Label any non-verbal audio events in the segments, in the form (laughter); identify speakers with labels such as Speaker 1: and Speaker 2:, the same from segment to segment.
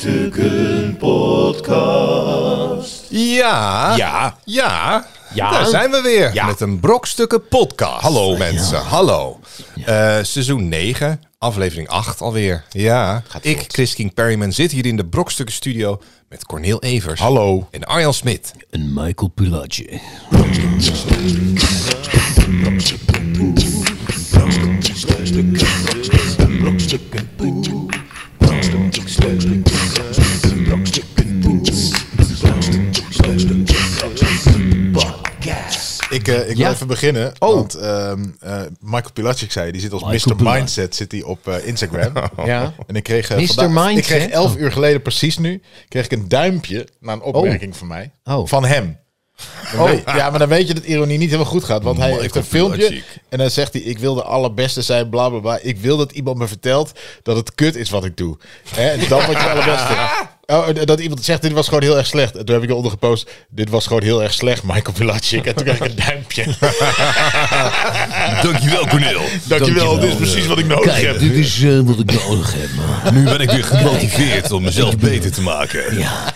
Speaker 1: Brokstukken Podcast.
Speaker 2: Ja.
Speaker 1: Ja.
Speaker 2: Ja.
Speaker 1: Ja.
Speaker 2: Daar zijn we weer
Speaker 1: Ja.
Speaker 2: met een brokstukken podcast. Hallo mensen, hallo. Eh, seizoen 9, aflevering 8 alweer. Ja, ik, Chris King Perryman, zit hier in de brokstukken studio met Corneel Evers.
Speaker 1: Hallo.
Speaker 2: En Arjan Smit.
Speaker 3: Een Michael Pulacci.
Speaker 4: Ik, eh, ik
Speaker 3: Ja. Oh.
Speaker 4: wil even beginnen. Want ehm, eh, Michael Pilacic zei, die zit als
Speaker 3: Michael
Speaker 4: Mr.
Speaker 3: Pilacic.
Speaker 4: Mindset zit die op eh, Instagram.
Speaker 3: (laughs) Ja.
Speaker 4: En ik kreeg, eh,
Speaker 3: Mr.
Speaker 4: vandaag- ik kreeg
Speaker 3: Mindset? Oh.
Speaker 4: elf uur geleden precies nu, kreeg ik een duimpje naar een opmerking van mij.
Speaker 3: Oh.
Speaker 4: Van hem. Dan weet- Oh, Ja, maar dan weet je dat ironie niet helemaal goed gaat. Want hij heeft een filmpje
Speaker 2: Pilacic.
Speaker 4: en dan zegt hij... ik wil de allerbeste zijn, bla bla bla. Ik wil dat iemand me vertelt dat het kut is wat ik doe. Hè, en dan word je de (laughs) allerbeste. Oh, en dat iemand zegt, dit was gewoon heel erg slecht. En toen heb ik eronder gepost, dit was gewoon heel erg slecht, Michael Pilacic. En toen kreeg ik een (laughs) duimpje.
Speaker 2: Dankjewel Corneel.
Speaker 4: Dankjewel, dit is precies wat ik nodig
Speaker 3: Kijk,
Speaker 4: heb.
Speaker 3: dit is eh, wat ik nodig heb. man.
Speaker 2: (laughs) Nu ben ik weer gemotiveerd om mezelf beter te maken.
Speaker 3: Ja.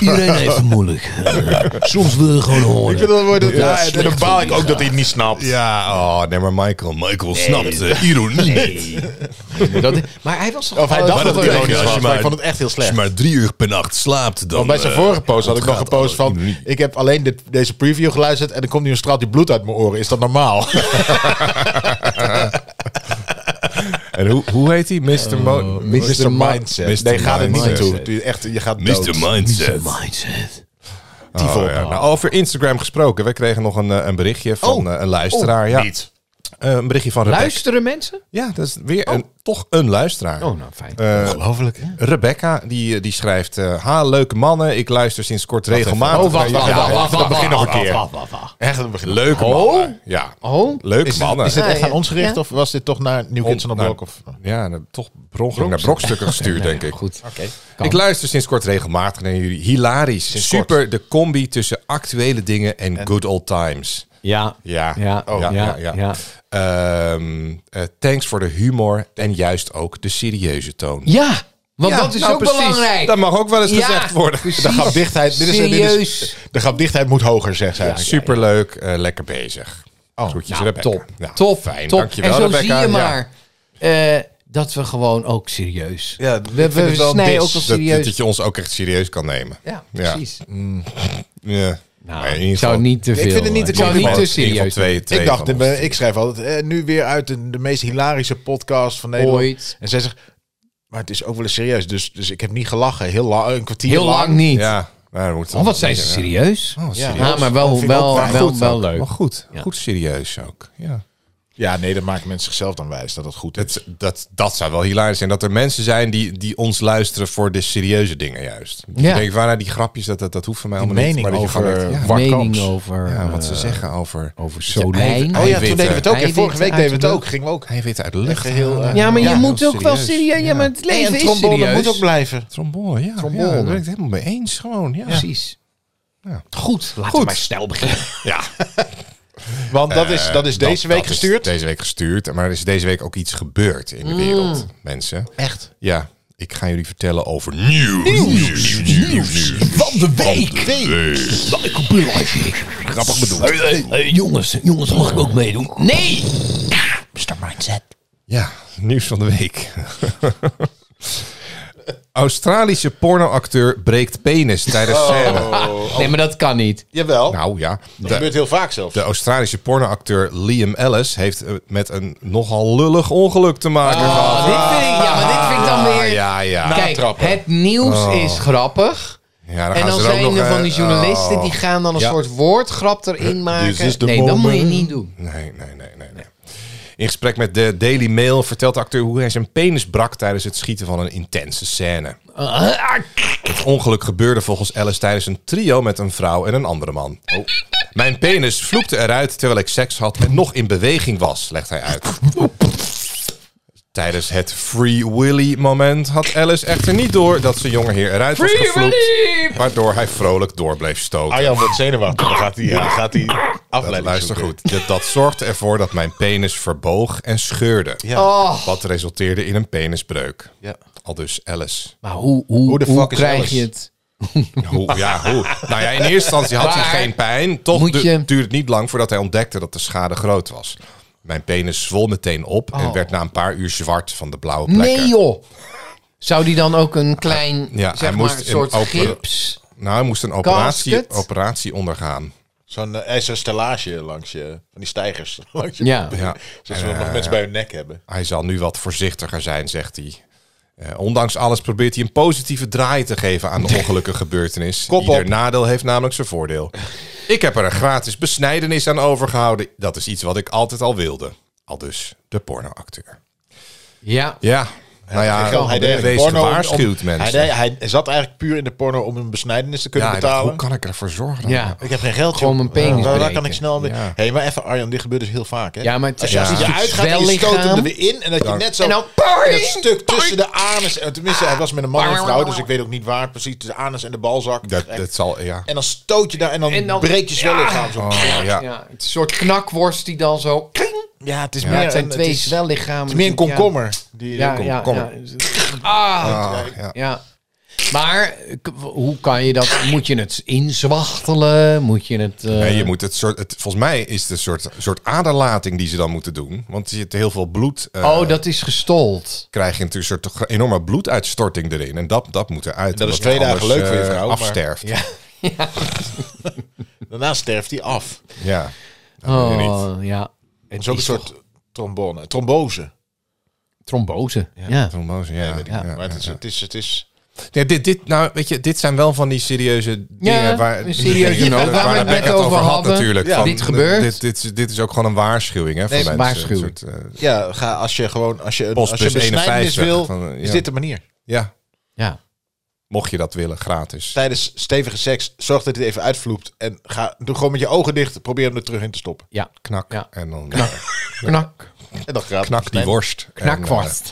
Speaker 3: Iedereen
Speaker 2: (laughs)
Speaker 3: heeft het moeilijk. Eh, soms wil je gewoon horen.
Speaker 4: Ik vind dat mooi dat-
Speaker 3: Ja,
Speaker 4: ja, en
Speaker 3: slecht
Speaker 4: dan baal ik
Speaker 3: voor
Speaker 4: ook dat hij het niet snapt.
Speaker 2: Ja, oh, nee maar Michael. Michael snapt eh, ironie niet.
Speaker 3: Dat- maar hij was toch...
Speaker 4: Of hij dacht
Speaker 2: Maar
Speaker 4: dat
Speaker 2: dat
Speaker 4: het
Speaker 2: kan
Speaker 4: ironisch
Speaker 2: je als
Speaker 4: was,
Speaker 2: je
Speaker 4: maar ik
Speaker 2: maar-
Speaker 4: vond het echt heel
Speaker 2: Als
Speaker 4: slecht.
Speaker 2: je maar drie uur per nacht slaapt, dan...
Speaker 4: Want bij zijn
Speaker 2: eh,
Speaker 4: vorige post had ik nog
Speaker 2: ontgaat
Speaker 4: gepost
Speaker 2: alle
Speaker 4: van...
Speaker 2: ironie.
Speaker 4: ik heb alleen dit, deze preview geluisterd... en er komt nu een straaltje bloed uit mijn oren. Is dat normaal?
Speaker 2: En hoe, hoe heet hij? Mr. Mo-
Speaker 4: Mr. Mindset.
Speaker 2: Mr.
Speaker 4: Nee, ga er niet
Speaker 2: Mindset.
Speaker 4: naartoe. Het is Echt, je gaat dood.
Speaker 2: Mr. Mindset.
Speaker 3: Mindset.
Speaker 2: Oh, ja. nou, over Instagram gesproken. Wij kregen nog een, eh, een berichtje van eh, een luisteraar.
Speaker 4: Oh,
Speaker 2: ja. Eh, een berichtje van Rebecca.
Speaker 3: Luisteren mensen?
Speaker 2: Ja, dat is weer een, toch een luisteraar.
Speaker 3: Oh, nou fijn.
Speaker 2: Eh,
Speaker 4: Ongelooflijk. hè?
Speaker 2: Rebecca, die, eh, die schrijft... eh, ha, leuke mannen. Ik luister sinds kort regelmatig.
Speaker 4: Oh, wacht, wacht,
Speaker 2: Ja,
Speaker 4: wacht, wacht,
Speaker 2: dat
Speaker 4: wacht,
Speaker 2: begint nog een keer.
Speaker 3: Wacht, wacht, wacht.
Speaker 4: Echt, het begin.
Speaker 2: Leuke mannen. Ja.
Speaker 3: Oh?
Speaker 2: Leuke
Speaker 4: Is dit,
Speaker 2: mannen.
Speaker 4: is dit echt
Speaker 3: Ja,
Speaker 4: aan ons gericht
Speaker 3: ja.
Speaker 4: of was dit toch naar New Kids on the
Speaker 2: Nou,
Speaker 4: Block? Of?
Speaker 2: Ja, en, eh, toch per ongeluk naar brokstukken gestuurd, denk ik.
Speaker 3: Goed. Oké.
Speaker 2: Ik luister sinds kort regelmatig naar jullie. Hilarisch. Super de combi tussen actuele dingen en, good old times.
Speaker 3: Ja.
Speaker 2: Ja,
Speaker 3: Ja,
Speaker 2: Oh, ja, ja.
Speaker 3: ja,
Speaker 2: ja.
Speaker 3: ja.
Speaker 2: Ehm, eh, thanks voor de humor en juist ook de serieuze toon.
Speaker 3: Ja, want
Speaker 2: Ja,
Speaker 3: dat is
Speaker 2: nou,
Speaker 3: ook
Speaker 2: precies.
Speaker 3: belangrijk.
Speaker 2: Dat mag ook wel eens
Speaker 3: Ja,
Speaker 2: gezegd worden.
Speaker 3: precies.
Speaker 4: De grapdichtheid, dit is, dit is,
Speaker 3: Serieus. Nou,
Speaker 4: de grapdichtheid moet hoger, zegt zij.
Speaker 2: Superleuk, eh, lekker bezig. Oh, Groetjes,
Speaker 3: Nou,
Speaker 2: Rebecca.
Speaker 3: top.
Speaker 2: Ja,
Speaker 3: top.
Speaker 2: Fijn,
Speaker 3: top.
Speaker 2: dankjewel
Speaker 3: En zo
Speaker 2: Rebecca.
Speaker 3: zie je
Speaker 2: Ja.
Speaker 3: maar eh, dat we gewoon ook serieus...
Speaker 4: Ja,
Speaker 3: we
Speaker 4: ik
Speaker 3: we
Speaker 4: vind het wel een
Speaker 3: snijden
Speaker 4: dis.
Speaker 3: ook wel
Speaker 2: Dat- Dat,
Speaker 3: serieus.
Speaker 2: dat je ons ook echt serieus kan nemen.
Speaker 3: ja, precies.
Speaker 2: Ja. Maar in
Speaker 3: Nou,
Speaker 2: ieder
Speaker 3: ik zou
Speaker 2: geval-
Speaker 3: niet te veel... eh,
Speaker 4: vind het niet te
Speaker 3: ik zou
Speaker 2: in ieder
Speaker 3: niet
Speaker 2: geval-
Speaker 3: te
Speaker 2: in ieder geval
Speaker 3: serieus
Speaker 2: Twee, twee
Speaker 4: ik dacht,
Speaker 2: van ons.
Speaker 4: eh, ik schrijf altijd, eh, nu weer uit de, de meest hilarische podcast van Nederland.
Speaker 3: Ooit.
Speaker 4: En zij zegt, maar het is ook wel eens serieus. Dus, dus ik heb niet gelachen. Heel lang, een kwartier
Speaker 3: Heel lang niet.
Speaker 2: Ja. Nou, dan moet het
Speaker 3: Oh, wat
Speaker 2: wel-
Speaker 3: zijn ze serieus?
Speaker 2: Oh, serieus.
Speaker 3: Ja,
Speaker 4: Dat
Speaker 3: maar wel, wel,
Speaker 4: vind ik ook
Speaker 3: wel,
Speaker 4: fijn.
Speaker 3: wel,
Speaker 2: Goed ook.
Speaker 3: leuk.
Speaker 2: Maar goed,
Speaker 3: Ja.
Speaker 2: goed serieus ook. Ja.
Speaker 4: Ja, nee, dat maakt mensen zichzelf dan wijs dat het goed is.
Speaker 2: Dat, dat, dat zou wel hilarisch zijn. Dat er mensen zijn die, die ons luisteren voor de serieuze dingen juist.
Speaker 3: Ja.
Speaker 2: Ik denk, van, nou, die grapjes, dat, dat, dat hoeft voor mij allemaal niet.
Speaker 4: mening
Speaker 2: dat je
Speaker 4: over-
Speaker 2: gewoon echt- ja,
Speaker 4: Waar
Speaker 3: Mening
Speaker 4: kamps?
Speaker 3: over,
Speaker 2: ja, wat
Speaker 3: eh,
Speaker 2: ze zeggen over...
Speaker 3: over
Speaker 2: ei-
Speaker 3: Solijn.
Speaker 2: ei-
Speaker 4: Oh ja,
Speaker 2: Eiwitten.
Speaker 4: toen deden we het ook. Ja,
Speaker 3: Eiwitten
Speaker 4: vorige week deden we het
Speaker 3: uit de
Speaker 4: ook. Gingen we ook.
Speaker 2: Hij weet uit de lucht.
Speaker 4: Geheel, eh,
Speaker 3: Ja, maar je
Speaker 4: Ja,
Speaker 3: moet
Speaker 2: heel
Speaker 3: ook wel
Speaker 2: serieus.
Speaker 3: serieus. Ja, maar het
Speaker 4: Nee,
Speaker 3: leven
Speaker 4: en
Speaker 3: is
Speaker 4: trombone
Speaker 3: serieus.
Speaker 4: moet ook blijven.
Speaker 2: Trombone, ja.
Speaker 4: Trombone.
Speaker 2: ja, daar ben ik het helemaal mee eens. Gewoon, ja.
Speaker 3: Precies. Goed, laten
Speaker 2: Goed.
Speaker 3: we maar snel beginnen.
Speaker 2: Ja.
Speaker 4: Want dat is, dat is
Speaker 2: Dat-
Speaker 4: deze week
Speaker 2: Eh, dat is
Speaker 4: gestuurd.
Speaker 2: deze week gestuurd. Maar er is deze week ook iets gebeurd in de
Speaker 3: Mm.
Speaker 2: wereld, mensen.
Speaker 4: Echt.
Speaker 2: Ja, ik ga jullie vertellen over nieuws. Nieuws.
Speaker 3: Van de week. Michael Pilacic.
Speaker 2: Grappig bedoeld.
Speaker 3: Eh, jongens, jongens, mag ik ook meedoen? Nee! Mr. Mindset.
Speaker 2: Ja, nieuws van de week. (laughs) Australische pornoacteur breekt penis tijdens
Speaker 4: Oh.
Speaker 2: (laughs) scène.
Speaker 3: Oh. Nee, maar dat kan niet.
Speaker 4: Jawel.
Speaker 2: Nou ja,
Speaker 4: dat
Speaker 2: de,
Speaker 4: gebeurt heel vaak zelfs.
Speaker 2: de Australische pornoacteur Liam Ellis heeft eh, met een nogal lullig ongeluk te maken gehad.
Speaker 3: Oh, dit vind ik, ja, maar dit vind ik dan
Speaker 2: Ah,
Speaker 3: weer...
Speaker 2: ja, ja.
Speaker 3: Kijk,
Speaker 4: Natrappen.
Speaker 3: het nieuws is grappig.
Speaker 2: ja ze
Speaker 3: En dan
Speaker 2: er ook
Speaker 3: zijn er
Speaker 2: nog,
Speaker 3: van
Speaker 2: eh,
Speaker 3: die journalisten
Speaker 2: oh.
Speaker 3: die gaan dan een
Speaker 2: Ja.
Speaker 3: soort woordgrap erin
Speaker 2: Dus
Speaker 3: maken.
Speaker 4: is de
Speaker 3: nee, dat moet je
Speaker 4: moment.
Speaker 3: niet doen.
Speaker 2: Nee, nee, nee, nee, nee. In gesprek met de Daily Mail vertelt de acteur hoe hij zijn penis brak tijdens het schieten van een intense scène. Het ongeluk gebeurde volgens Alice tijdens een trio met een vrouw en een andere man. Oh. Mijn penis vloekte eruit terwijl ik seks had en nog in beweging was, legt hij uit. Tijdens het Free Willy moment had Alice echter niet door dat zijn jongeheer eruit was
Speaker 3: Free
Speaker 2: gevloept. Waardoor hij vrolijk door bleef stoten.
Speaker 4: Arjan wordt zenuwachtig. Dan gaat hij, ja, dan gaat hij
Speaker 2: Dat,
Speaker 4: afleiding
Speaker 2: luister
Speaker 4: zoeken.
Speaker 2: goed. Dat, dat zorgde ervoor dat mijn penis verboog en scheurde.
Speaker 3: Oh.
Speaker 2: Wat resulteerde in een penisbreuk.
Speaker 4: Ja.
Speaker 2: Al dus Alice.
Speaker 3: Maar hoe, hoe,
Speaker 4: Hoe de
Speaker 3: hoe
Speaker 4: fuck is
Speaker 3: krijg
Speaker 4: Alice?
Speaker 3: je het?
Speaker 2: Hoe, ja, hoe? Nou ja, in eerste instantie had hij
Speaker 3: Maar
Speaker 2: geen pijn. Toch
Speaker 3: moet
Speaker 2: du-
Speaker 3: je-
Speaker 2: duurde het niet lang voordat hij ontdekte dat de schade groot was. Mijn penis zwol meteen op en werd na een paar uur zwart van de blauwe plekken.
Speaker 3: Oh. Nee joh! Zou die dan ook een klein,
Speaker 2: Ja, hij
Speaker 3: zeg
Speaker 2: moest
Speaker 3: maar,
Speaker 2: een
Speaker 3: soort
Speaker 2: open-
Speaker 3: gips?
Speaker 2: Nou, hij moest een operatie,
Speaker 3: Casket?
Speaker 2: operatie ondergaan.
Speaker 4: Zo'n eh, zo'n stellage langs je, van die stijgers. (laughs) Langs je
Speaker 3: Ja.
Speaker 2: Ja. Eh,
Speaker 4: Zoals we nog mensen bij hun nek hebben.
Speaker 2: Hij zal nu wat voorzichtiger zijn, zegt hij. Eh, ondanks alles probeert hij een positieve draai te geven aan de ongelukkige gebeurtenis.
Speaker 4: Kop
Speaker 2: Ieder
Speaker 4: op.
Speaker 2: nadeel heeft namelijk zijn voordeel. Ik heb er een gratis besnijdenis aan overgehouden. Dat is iets wat ik altijd al wilde. Al dus de pornoacteur.
Speaker 3: Ja.
Speaker 2: Ja, nou ja,
Speaker 4: Geld, hij deed
Speaker 2: wees
Speaker 4: porno om-
Speaker 2: gewaarschuwd,
Speaker 4: om-
Speaker 2: mensen.
Speaker 4: Hij, deed- hij zat eigenlijk puur in de porno om een besnijdenis te kunnen
Speaker 2: ja, hij dacht,
Speaker 4: betalen.
Speaker 2: hoe kan ik ervoor zorgen? dat-
Speaker 3: Ja.
Speaker 4: Ik heb geen geld,
Speaker 3: Gewoon
Speaker 4: joh.
Speaker 3: mijn penis
Speaker 4: Eh, Waar, waar
Speaker 3: breken.
Speaker 4: kan ik snel mee?
Speaker 2: Ja.
Speaker 4: hey, maar even Arjan, dit gebeurt dus heel vaak, hè?
Speaker 3: Ja, maar het-
Speaker 4: als je,
Speaker 2: Ja.
Speaker 4: als je
Speaker 3: Ja.
Speaker 4: eruit gaat en je
Speaker 3: Wel
Speaker 4: stoot hem
Speaker 3: lichaam.
Speaker 4: er weer in en dat je
Speaker 2: Ja.
Speaker 4: net zo...
Speaker 3: En dan-
Speaker 4: en dat stuk tussen de anus... en Tenminste, hij was met een man en een vrouw, dus ik weet ook niet waar precies. Tussen de anus en de balzak.
Speaker 2: Dat, dat zal, ja.
Speaker 4: En dan stoot je daar en dan,
Speaker 3: En dan-
Speaker 4: breekt je zwellichaam. zo.
Speaker 2: Oh, ja.
Speaker 3: Ja, het is een soort knakworst die dan zo...
Speaker 4: Ja, het is
Speaker 3: Ja,
Speaker 4: meer
Speaker 3: het zijn
Speaker 4: een-
Speaker 3: twee
Speaker 4: het is,
Speaker 3: zwellichamen. Dus
Speaker 4: het is meer een komkommer. Die,
Speaker 3: Ja, ja, ja, ja. Ah,
Speaker 2: Ah, ja.
Speaker 3: ja. Maar k- hoe kan je dat? Moet je het inzwachtelen? Moet je het... eh,
Speaker 2: Nee, je moet het soort, het, volgens mij is het een soort, soort aderlating die ze dan moeten doen. Want er zit heel veel bloed. eh,
Speaker 3: oh, dat is gestold.
Speaker 2: krijg je natuurlijk een soort enorme bloeduitstorting erin. En dat, dat moet eruit.
Speaker 4: Dat is
Speaker 2: omdat
Speaker 4: twee
Speaker 2: het
Speaker 4: dagen
Speaker 2: anders,
Speaker 4: leuk voor je
Speaker 2: eh,
Speaker 4: vrouw, maar-
Speaker 2: Afsterft. Ja.
Speaker 4: eh, Daarna sterft hij af.
Speaker 2: Dat weet je niet.
Speaker 3: Oh, ja.
Speaker 4: Het
Speaker 3: Het
Speaker 4: is ook een
Speaker 3: is
Speaker 4: soort trombone. Trombose.
Speaker 3: trombose. Ja.
Speaker 2: Trombose, ja, weet ik niet. Ja,
Speaker 4: Maar het is...
Speaker 2: ja.
Speaker 4: Het is, het is
Speaker 2: Nee, dit, dit, nou, weet je, dit zijn wel van die serieuze dingen waar,
Speaker 3: een serieuze
Speaker 2: dingen
Speaker 3: dingen waar we
Speaker 2: Rebecca
Speaker 3: het net over hadden.
Speaker 2: natuurlijk.
Speaker 4: Ja,
Speaker 2: van,
Speaker 3: dit gebeurt.
Speaker 2: Dit, dit, is- dit is ook gewoon een waarschuwing. Hè, voor
Speaker 3: Nee,
Speaker 2: mensen.
Speaker 3: waarschuwing.
Speaker 2: Een soort, eh,
Speaker 4: Ja, ga als je gewoon als je een
Speaker 2: Post
Speaker 4: als je
Speaker 2: plus
Speaker 4: besnijdenis
Speaker 2: 51
Speaker 4: wil,
Speaker 2: van, eh,
Speaker 4: is
Speaker 2: ja.
Speaker 4: dit de manier.
Speaker 2: ja,
Speaker 3: ja.
Speaker 2: mocht je dat willen, gratis.
Speaker 4: Tijdens stevige seks zorg dat hij even uitvloept en ga doe gewoon met je ogen dicht, probeer hem er terug in te stoppen.
Speaker 3: Ja.
Speaker 2: Knak.
Speaker 3: Ja.
Speaker 2: En dan eh,
Speaker 3: Knak.
Speaker 4: En dan gaat
Speaker 2: knak die worst. En, eh,
Speaker 3: Knakworst.
Speaker 4: het.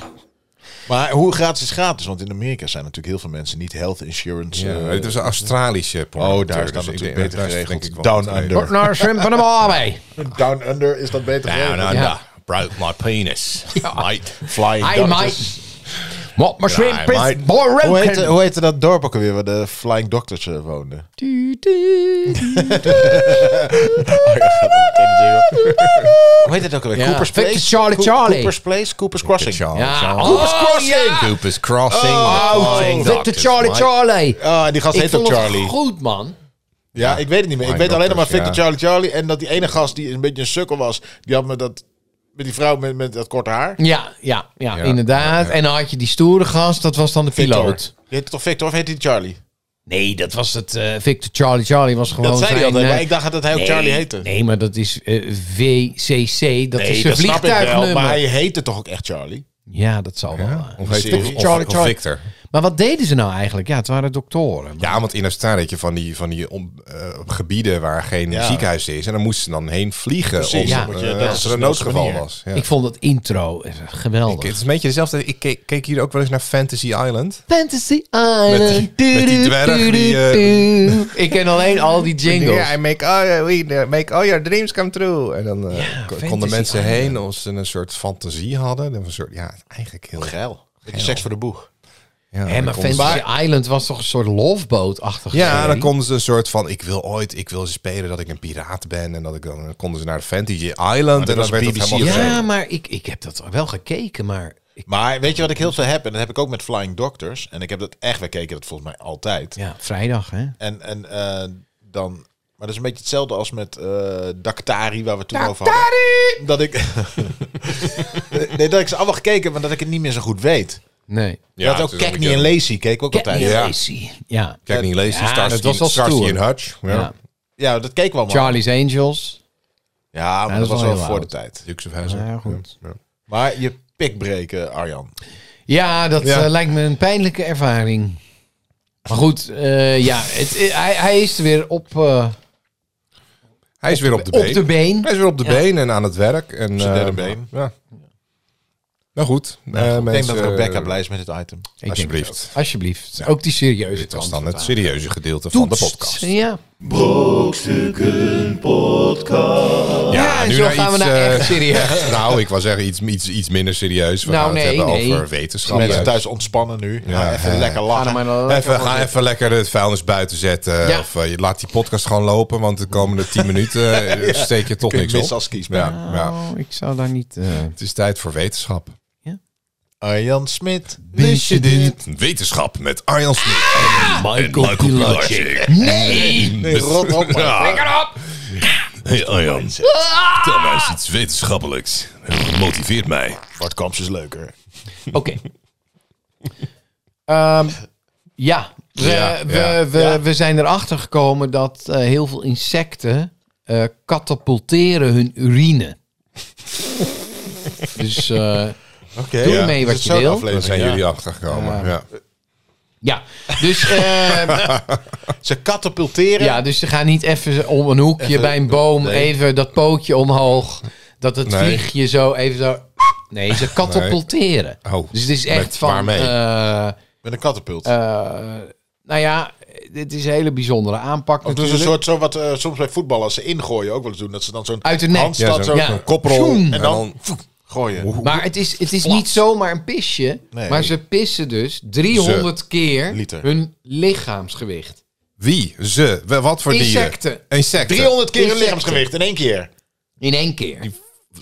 Speaker 4: Maar hoe gratis is gratis? Want in Amerika zijn natuurlijk heel veel mensen niet health insurance.
Speaker 2: eh,
Speaker 4: eh,
Speaker 2: ja, het is een Australische porno. dus
Speaker 4: Oh, daar is dat
Speaker 2: ik
Speaker 4: natuurlijk
Speaker 2: denk-
Speaker 4: beter
Speaker 2: daar is het
Speaker 4: geregeld.
Speaker 2: denk ik wel
Speaker 4: Down
Speaker 2: wat eh, te
Speaker 4: under.
Speaker 2: regelen.
Speaker 3: Op naar shrimp en de barbie.
Speaker 4: Down under is dat beter.
Speaker 2: Down
Speaker 4: geregeld.
Speaker 2: under.
Speaker 3: Ja.
Speaker 2: Nou, Broke my penis. Mate.
Speaker 4: Flying
Speaker 3: Hi,
Speaker 4: doctors.
Speaker 3: mate. Wat mijn shrimp is
Speaker 2: mate.
Speaker 4: Hoe heette,
Speaker 3: broken.
Speaker 4: hoe heette dat dorp ook alweer waar de Flying Doctors eh, woonden?
Speaker 3: Du- du-
Speaker 4: Hoe heet dat ook alweer?
Speaker 3: Ja.
Speaker 4: Cooper's Place?
Speaker 3: Victor Charlie
Speaker 4: Co-
Speaker 3: Charlie.
Speaker 4: Cooper's Place? Cooper's Crossing.
Speaker 3: Ja.
Speaker 2: Cooper's
Speaker 3: Oh,
Speaker 2: Crossing.
Speaker 3: ja.
Speaker 2: Cooper's Crossing.
Speaker 3: Oh,
Speaker 2: Flying
Speaker 3: Victor
Speaker 2: Doctors,
Speaker 3: Charlie
Speaker 2: mate.
Speaker 3: Charlie.
Speaker 4: Ah, die gast
Speaker 3: Ik
Speaker 4: heet ook
Speaker 3: vond
Speaker 4: Charlie.
Speaker 3: het goed, man.
Speaker 4: Ja, ik weet het niet meer. Ik
Speaker 2: Flying
Speaker 4: weet alleen nog maar Victor
Speaker 2: Doctors,
Speaker 4: Charlie Charlie. En dat die ene gast die een beetje een sukkel was, die had met, dat, met die vrouw met, met dat korte haar.
Speaker 3: Ja, ja, ja,
Speaker 2: Ja,
Speaker 3: inderdaad.
Speaker 2: ja, ja.
Speaker 3: En dan had je die stoere gast, dat was dan de
Speaker 4: Victor.
Speaker 3: piloot.
Speaker 4: Die heette toch Victor of heet hij Charlie?
Speaker 3: Nee, dat was het. eh, Victor Charlie Charlie was gewoon
Speaker 4: dat zei hij
Speaker 3: zijn...
Speaker 4: altijd,
Speaker 3: eh,
Speaker 4: maar ik dacht dat hij ook
Speaker 3: nee,
Speaker 4: Charlie heette.
Speaker 3: Nee, maar dat is eh, VCC. Dat is
Speaker 4: dat snap ik
Speaker 3: zijn
Speaker 4: wel,
Speaker 3: vliegtuignummer.
Speaker 4: maar hij heette toch ook echt Charlie?
Speaker 3: Ja, dat zal wel.
Speaker 2: Ja,
Speaker 3: waar.
Speaker 2: Of heet
Speaker 4: Victor
Speaker 2: of- of
Speaker 3: Charlie Charlie.
Speaker 2: Victor.
Speaker 3: Maar wat deden ze nou eigenlijk? Ja, het waren doktoren.
Speaker 2: Ja, want in Australië heb je van die, van die om, eh, gebieden waar geen
Speaker 4: Ja.
Speaker 2: ziekenhuis is. En dan moesten ze dan heen vliegen
Speaker 4: Precies,
Speaker 2: om,
Speaker 3: dan
Speaker 4: moet je-
Speaker 2: eh,
Speaker 4: dat
Speaker 2: als
Speaker 4: is
Speaker 2: er een
Speaker 4: de snelste
Speaker 2: noodgeval
Speaker 4: manier.
Speaker 2: was. Ja.
Speaker 3: Ik vond dat intro eh, geweldig.
Speaker 2: Ik- het is een beetje dezelfde. Ik keek, keek hier ook wel eens naar Fantasy Island.
Speaker 3: Fantasy Island.
Speaker 2: Met die- met die dwerg die, eh,
Speaker 3: du- Ik ken alleen al die jingles.
Speaker 2: Ja, I make all, we make all your dreams come true. En dan eh,
Speaker 3: Ja,
Speaker 2: ko- konden
Speaker 3: Fantasy
Speaker 2: mensen
Speaker 3: Island.
Speaker 2: heen als ze een soort fantasie hadden. Een soort, ja, eigenlijk heel...
Speaker 4: Geil. Beetje seks voor de boeg.
Speaker 2: Ja,
Speaker 3: Hè, maar
Speaker 2: dan konden ze-
Speaker 3: Fantasy Island was toch een soort loveboot-achtig.
Speaker 2: ja, dan
Speaker 3: serie?
Speaker 2: konden ze een soort van... Ik wil ooit, ik wil spelen dat ik een piraat ben. En dat ik dan, dan konden ze naar de Fantasy Island. En
Speaker 4: was
Speaker 2: dan werd het helemaal...
Speaker 4: BBC of zo.
Speaker 2: gezellig.
Speaker 3: Ja, maar ik, ik heb dat wel gekeken, maar... Ik,
Speaker 4: Maar weet je wat ik heel veel heb? En dat heb ik ook met Flying Doctors. En ik heb dat echt, we keken dat volgens mij altijd.
Speaker 3: ja, vrijdag, hè?
Speaker 4: En, en eh, dan... Maar dat is een beetje hetzelfde als met eh Daktari, waar we het toen over hadden. Dat ik... nee, dat ik (laughs) ze allemaal gekeken, maar dat ik het niet meer zo goed weet.
Speaker 3: Nee.
Speaker 4: Ja,
Speaker 2: het
Speaker 4: dat
Speaker 2: is
Speaker 4: ook
Speaker 2: wel
Speaker 4: Cagney en
Speaker 2: bekend.
Speaker 4: Lacey keek ik ook
Speaker 3: Get
Speaker 4: altijd.
Speaker 3: me
Speaker 4: Ja.
Speaker 2: Ja.
Speaker 3: lazy. Ja.
Speaker 2: Kijk niet lezen.
Speaker 3: Ja,
Speaker 2: Starsky,
Speaker 3: dat was wel
Speaker 2: Starsky
Speaker 3: stoer.
Speaker 2: en Hutch. Ja.
Speaker 3: ja.
Speaker 4: ja, dat keek wel maar.
Speaker 3: Charlie's Angels.
Speaker 4: Ja, maar dat,
Speaker 3: Ja, dat is
Speaker 4: was
Speaker 3: wel
Speaker 4: wel
Speaker 3: heel
Speaker 4: voor
Speaker 3: oud.
Speaker 4: de tijd.
Speaker 2: Dukes of Hazzard.
Speaker 3: Ja, goed.
Speaker 2: Ja.
Speaker 4: Maar je pik breken, Arjan.
Speaker 3: Ja, dat
Speaker 2: Ja.
Speaker 3: eh, lijkt me een pijnlijke ervaring. Maar goed, eh, ja, het, eh, hij, hij is er weer op, eh,
Speaker 2: Hij is weer op de
Speaker 3: op
Speaker 2: been.
Speaker 3: de been.
Speaker 2: Hij is weer op de been en aan het werk. En,
Speaker 4: Zijn derde
Speaker 2: eh,
Speaker 4: been.
Speaker 2: Ja. eh, Nou goed, eh,
Speaker 4: ik denk
Speaker 2: mensen,
Speaker 4: dat Rebecca blij is met het item.
Speaker 3: denk
Speaker 2: Alsjeblieft.
Speaker 3: het ook. Alsjeblieft. Ook die serieuze
Speaker 2: Dit was
Speaker 3: kant.
Speaker 2: dan het serieuze gedeelte van de
Speaker 3: Toetst.
Speaker 2: podcast.
Speaker 3: Ja.
Speaker 1: Brokstukken Podcast.
Speaker 3: Ja, en zo gaan we naar
Speaker 2: eh,
Speaker 3: echt
Speaker 2: (laughs)
Speaker 3: serieus.
Speaker 2: nou, ik wou zeggen iets, iets, iets minder serieus. We
Speaker 3: Nou,
Speaker 2: gaan
Speaker 3: nee,
Speaker 2: het hebben
Speaker 3: nee.
Speaker 2: over wetenschap.
Speaker 4: Mensen
Speaker 2: Even,
Speaker 4: thuis ontspannen nu. Ja, even
Speaker 2: eh,
Speaker 4: lekker
Speaker 3: Ga er
Speaker 4: lachen.
Speaker 3: maar naar-
Speaker 2: even, gaan even lekker het vuilnis buiten zetten.
Speaker 3: Ja.
Speaker 2: Of eh, je laat die podcast gewoon lopen, want de komende 10 minuten
Speaker 3: (laughs)
Speaker 2: eh, steek je toch
Speaker 4: Kun je
Speaker 2: niks op.
Speaker 4: mis als kies,
Speaker 2: ja,
Speaker 3: Nou,
Speaker 2: ja.
Speaker 3: ik zou daar niet... eh,
Speaker 2: Het is tijd voor wetenschap.
Speaker 4: Arjan Smit.
Speaker 3: Wist je dit?
Speaker 2: Wetenschap met Arjan Smit.
Speaker 3: Michael
Speaker 2: Pilacic.
Speaker 3: Nee!
Speaker 4: Nee, rot op. man.
Speaker 2: Hey Arjan, vertel mij eens iets wetenschappelijks. Het motiveert mij.
Speaker 4: Bart Kamps is leuker.
Speaker 3: Oké. (laughs) Ehm, ja, we,
Speaker 2: Ja,
Speaker 3: we,
Speaker 2: ja,
Speaker 3: we,
Speaker 4: ja.
Speaker 3: we zijn erachter gekomen dat eh, heel veel insecten eh katapulteren hun
Speaker 2: (laughs)
Speaker 3: urine. dus eh,
Speaker 4: Oké.
Speaker 3: Doe ermee wat je wil.
Speaker 2: Daar zijn jullie achtergekomen.
Speaker 3: Ja.
Speaker 2: Ja.
Speaker 3: ja,
Speaker 2: (laughs)
Speaker 3: dus, eh,
Speaker 4: Ze katapulteren.
Speaker 3: ja, dus ze gaan niet even om een hoekje
Speaker 4: Even-
Speaker 3: bij een boom,
Speaker 4: nee.
Speaker 3: even dat pootje omhoog, dat het
Speaker 2: Nee.
Speaker 3: vliegje zo even zo... Nee, ze katapulteren.
Speaker 2: Oh,
Speaker 3: Dus het is echt
Speaker 2: met
Speaker 3: van...
Speaker 2: waarmee?
Speaker 3: eh,
Speaker 4: Met een katapult.
Speaker 3: eh, nou ja, dit is een hele bijzondere aanpak
Speaker 4: Of dus een
Speaker 3: natuurlijk.
Speaker 4: soort zo wat eh, soms bij voetballers ze ingooien ook wel eens doen. Dat ze dan zo'n
Speaker 3: Uit de nek.
Speaker 4: handstand
Speaker 2: Ja,
Speaker 4: zo,
Speaker 2: zo'n
Speaker 3: Ja.
Speaker 2: koprol.
Speaker 3: Tjoen.
Speaker 4: en dan gooien.
Speaker 3: Maar het is, het is niet zomaar een pisje.
Speaker 4: Nee.
Speaker 3: Maar ze pissen dus 300 keer
Speaker 4: Liter.
Speaker 3: hun lichaamsgewicht.
Speaker 2: Wie? Ze? We- Wat voor
Speaker 3: Insecten.
Speaker 2: dieren? Insecten.
Speaker 4: 300 keer hun
Speaker 3: Insecten.
Speaker 4: lichaamsgewicht in één keer.
Speaker 3: In één keer.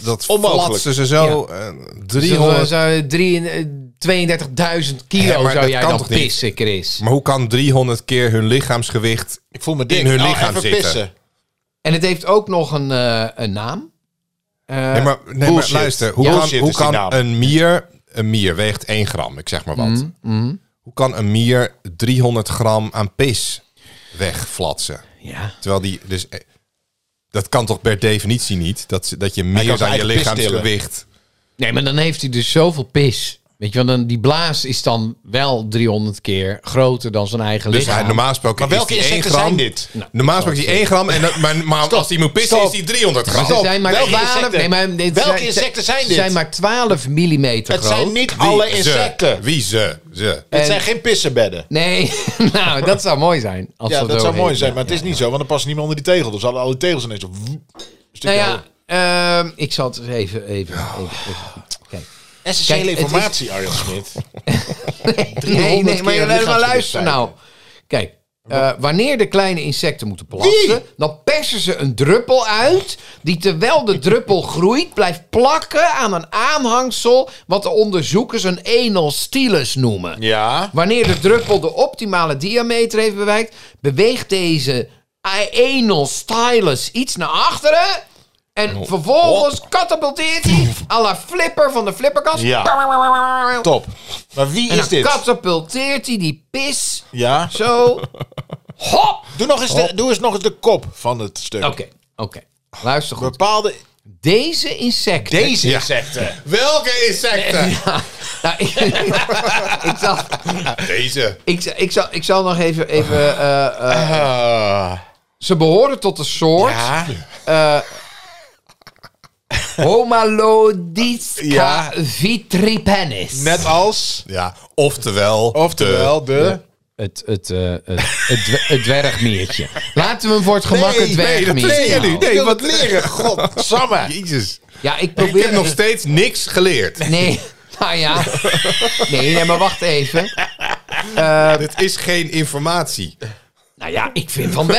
Speaker 2: Dat
Speaker 4: Onmogelijk.
Speaker 2: flatsen ze zo. eh,
Speaker 3: Dus,
Speaker 2: 300.
Speaker 3: eh, zo drie- eh, 32.000 kilo
Speaker 2: Ja, maar
Speaker 3: zou
Speaker 2: dat
Speaker 3: jij
Speaker 2: kan
Speaker 3: dan
Speaker 2: toch niet?
Speaker 3: pissen, Chris.
Speaker 2: Maar hoe kan 300 keer hun lichaamsgewicht...
Speaker 4: Ik voel me dik.
Speaker 2: In hun
Speaker 4: Nou,
Speaker 2: lichaam
Speaker 4: even
Speaker 2: zitten.
Speaker 4: pissen.
Speaker 3: En het heeft ook nog een, eh, een naam. Eh,
Speaker 2: Nee, maar, nee, maar
Speaker 4: bullshit.
Speaker 2: luister. Hoe
Speaker 4: Ja.
Speaker 2: kan,
Speaker 4: Bullshit
Speaker 2: hoe
Speaker 4: is die naam.
Speaker 2: kan een mier... Een mier weegt 1 gram, ik zeg maar wat.
Speaker 4: Mm,
Speaker 2: Hoe kan een mier 300 gram aan pis wegflatsen?
Speaker 3: ja.
Speaker 2: Terwijl die... Dus, eh, dat kan toch per definitie niet? Dat, ze- dat je meer
Speaker 4: kan zijn
Speaker 2: dan je
Speaker 4: eigen pis tillen.
Speaker 2: lichaamsgewicht...
Speaker 3: nee, maar dan heeft hij dus zoveel pis. Weet je, want dan, die blaas is dan wel 300 keer groter dan zijn eigen
Speaker 2: Dus
Speaker 3: lichaam.
Speaker 2: hij, normaal gesproken
Speaker 4: Maar welke
Speaker 2: is die 1
Speaker 4: insecten
Speaker 2: gram, Nou,
Speaker 4: zijn dit? Nou,
Speaker 2: Normaal gesproken is die 1 gram, en, dat- maar, maar als die moet pissen
Speaker 4: Stop.
Speaker 2: is die 300 gram.
Speaker 3: Ze zijn maar
Speaker 4: Welke
Speaker 3: 12,
Speaker 4: insecten?
Speaker 3: nee, maar, dit
Speaker 4: Welke
Speaker 3: zijn-
Speaker 4: insecten zijn
Speaker 3: Ze
Speaker 4: dit?
Speaker 3: zijn maar 12 mm groot.
Speaker 4: Het zijn niet
Speaker 2: Wie
Speaker 4: alle
Speaker 2: ze?
Speaker 4: insecten.
Speaker 2: Wie ze? Ze.
Speaker 4: Het
Speaker 3: En-
Speaker 4: zijn geen pissenbedden.
Speaker 3: Nee, (laughs) nou, dat zou mooi zijn. Als
Speaker 4: Ja,
Speaker 3: dat
Speaker 4: dat
Speaker 3: zo
Speaker 4: zou mooi
Speaker 3: heet.
Speaker 4: zijn, maar het is niet zo, want dan past niemand onder die tegel. Dus hadden alle tegels ineens op.
Speaker 3: Nou ja, ehm, ik zal het eens even... even, even, even. Kijk.
Speaker 4: essentiële
Speaker 3: kijk, het is-
Speaker 4: informatie, Arjan Smit.
Speaker 3: Nee, nee, maar,
Speaker 4: keer
Speaker 3: maar, maar luister
Speaker 4: lichaamsgewicht
Speaker 3: nou. Kijk, eh, wanneer de kleine insecten moeten plassen, dan persen ze een druppel uit, die terwijl de druppel (laughs) groeit, blijft plakken aan een aanhangsel, wat de onderzoekers een enel stylus noemen.
Speaker 4: (laughs) Ja.
Speaker 3: Wanneer de druppel de optimale diameter heeft bereikt, beweegt deze anal stylus iets naar achteren. En vervolgens katapulteert hij à la flipper van de flipperkast.
Speaker 4: Ja. Top. Maar wie
Speaker 3: En
Speaker 4: is
Speaker 3: dan
Speaker 4: dit?
Speaker 3: katapulteert hij die pis
Speaker 4: Ja.
Speaker 3: zo. Hop!
Speaker 4: Doe, nog eens de, doe eens nog eens de kop van het stuk.
Speaker 3: Oké, oké. Luister goed.
Speaker 4: Bepaalde
Speaker 3: Deze insecten.
Speaker 4: deze insecten.
Speaker 2: Welke insecten?
Speaker 3: (laughs) Ja, nou, ik, ik, (laughs) zal,
Speaker 2: Deze.
Speaker 3: ik, zal- ik, zal, ik zal nog even. even eh, eh,
Speaker 4: Ah.
Speaker 3: ze behoren tot de soort.
Speaker 4: ja.
Speaker 3: Homalodisca
Speaker 4: Ja.
Speaker 3: vitripennis.
Speaker 4: Net als. Oh.
Speaker 2: Ja, oftewel.
Speaker 4: Oftewel de.
Speaker 3: Het, het, eh, het, het, dwe- het dwergmiertje. Laten we hem voor het gemak het dwergmiertje houden.
Speaker 4: Ik wil het leren.
Speaker 2: (laughs)
Speaker 4: Godsamme.
Speaker 2: de- Jezus.
Speaker 3: Ja, ik
Speaker 2: Ik heb
Speaker 3: probeer
Speaker 2: nog steeds niks geleerd.
Speaker 3: (laughs) Nee, nou ja. Nee, nee, maar wacht even.
Speaker 2: Dit is geen informatie.
Speaker 3: Nou ja, ik vind
Speaker 4: (laughs)
Speaker 3: van wel.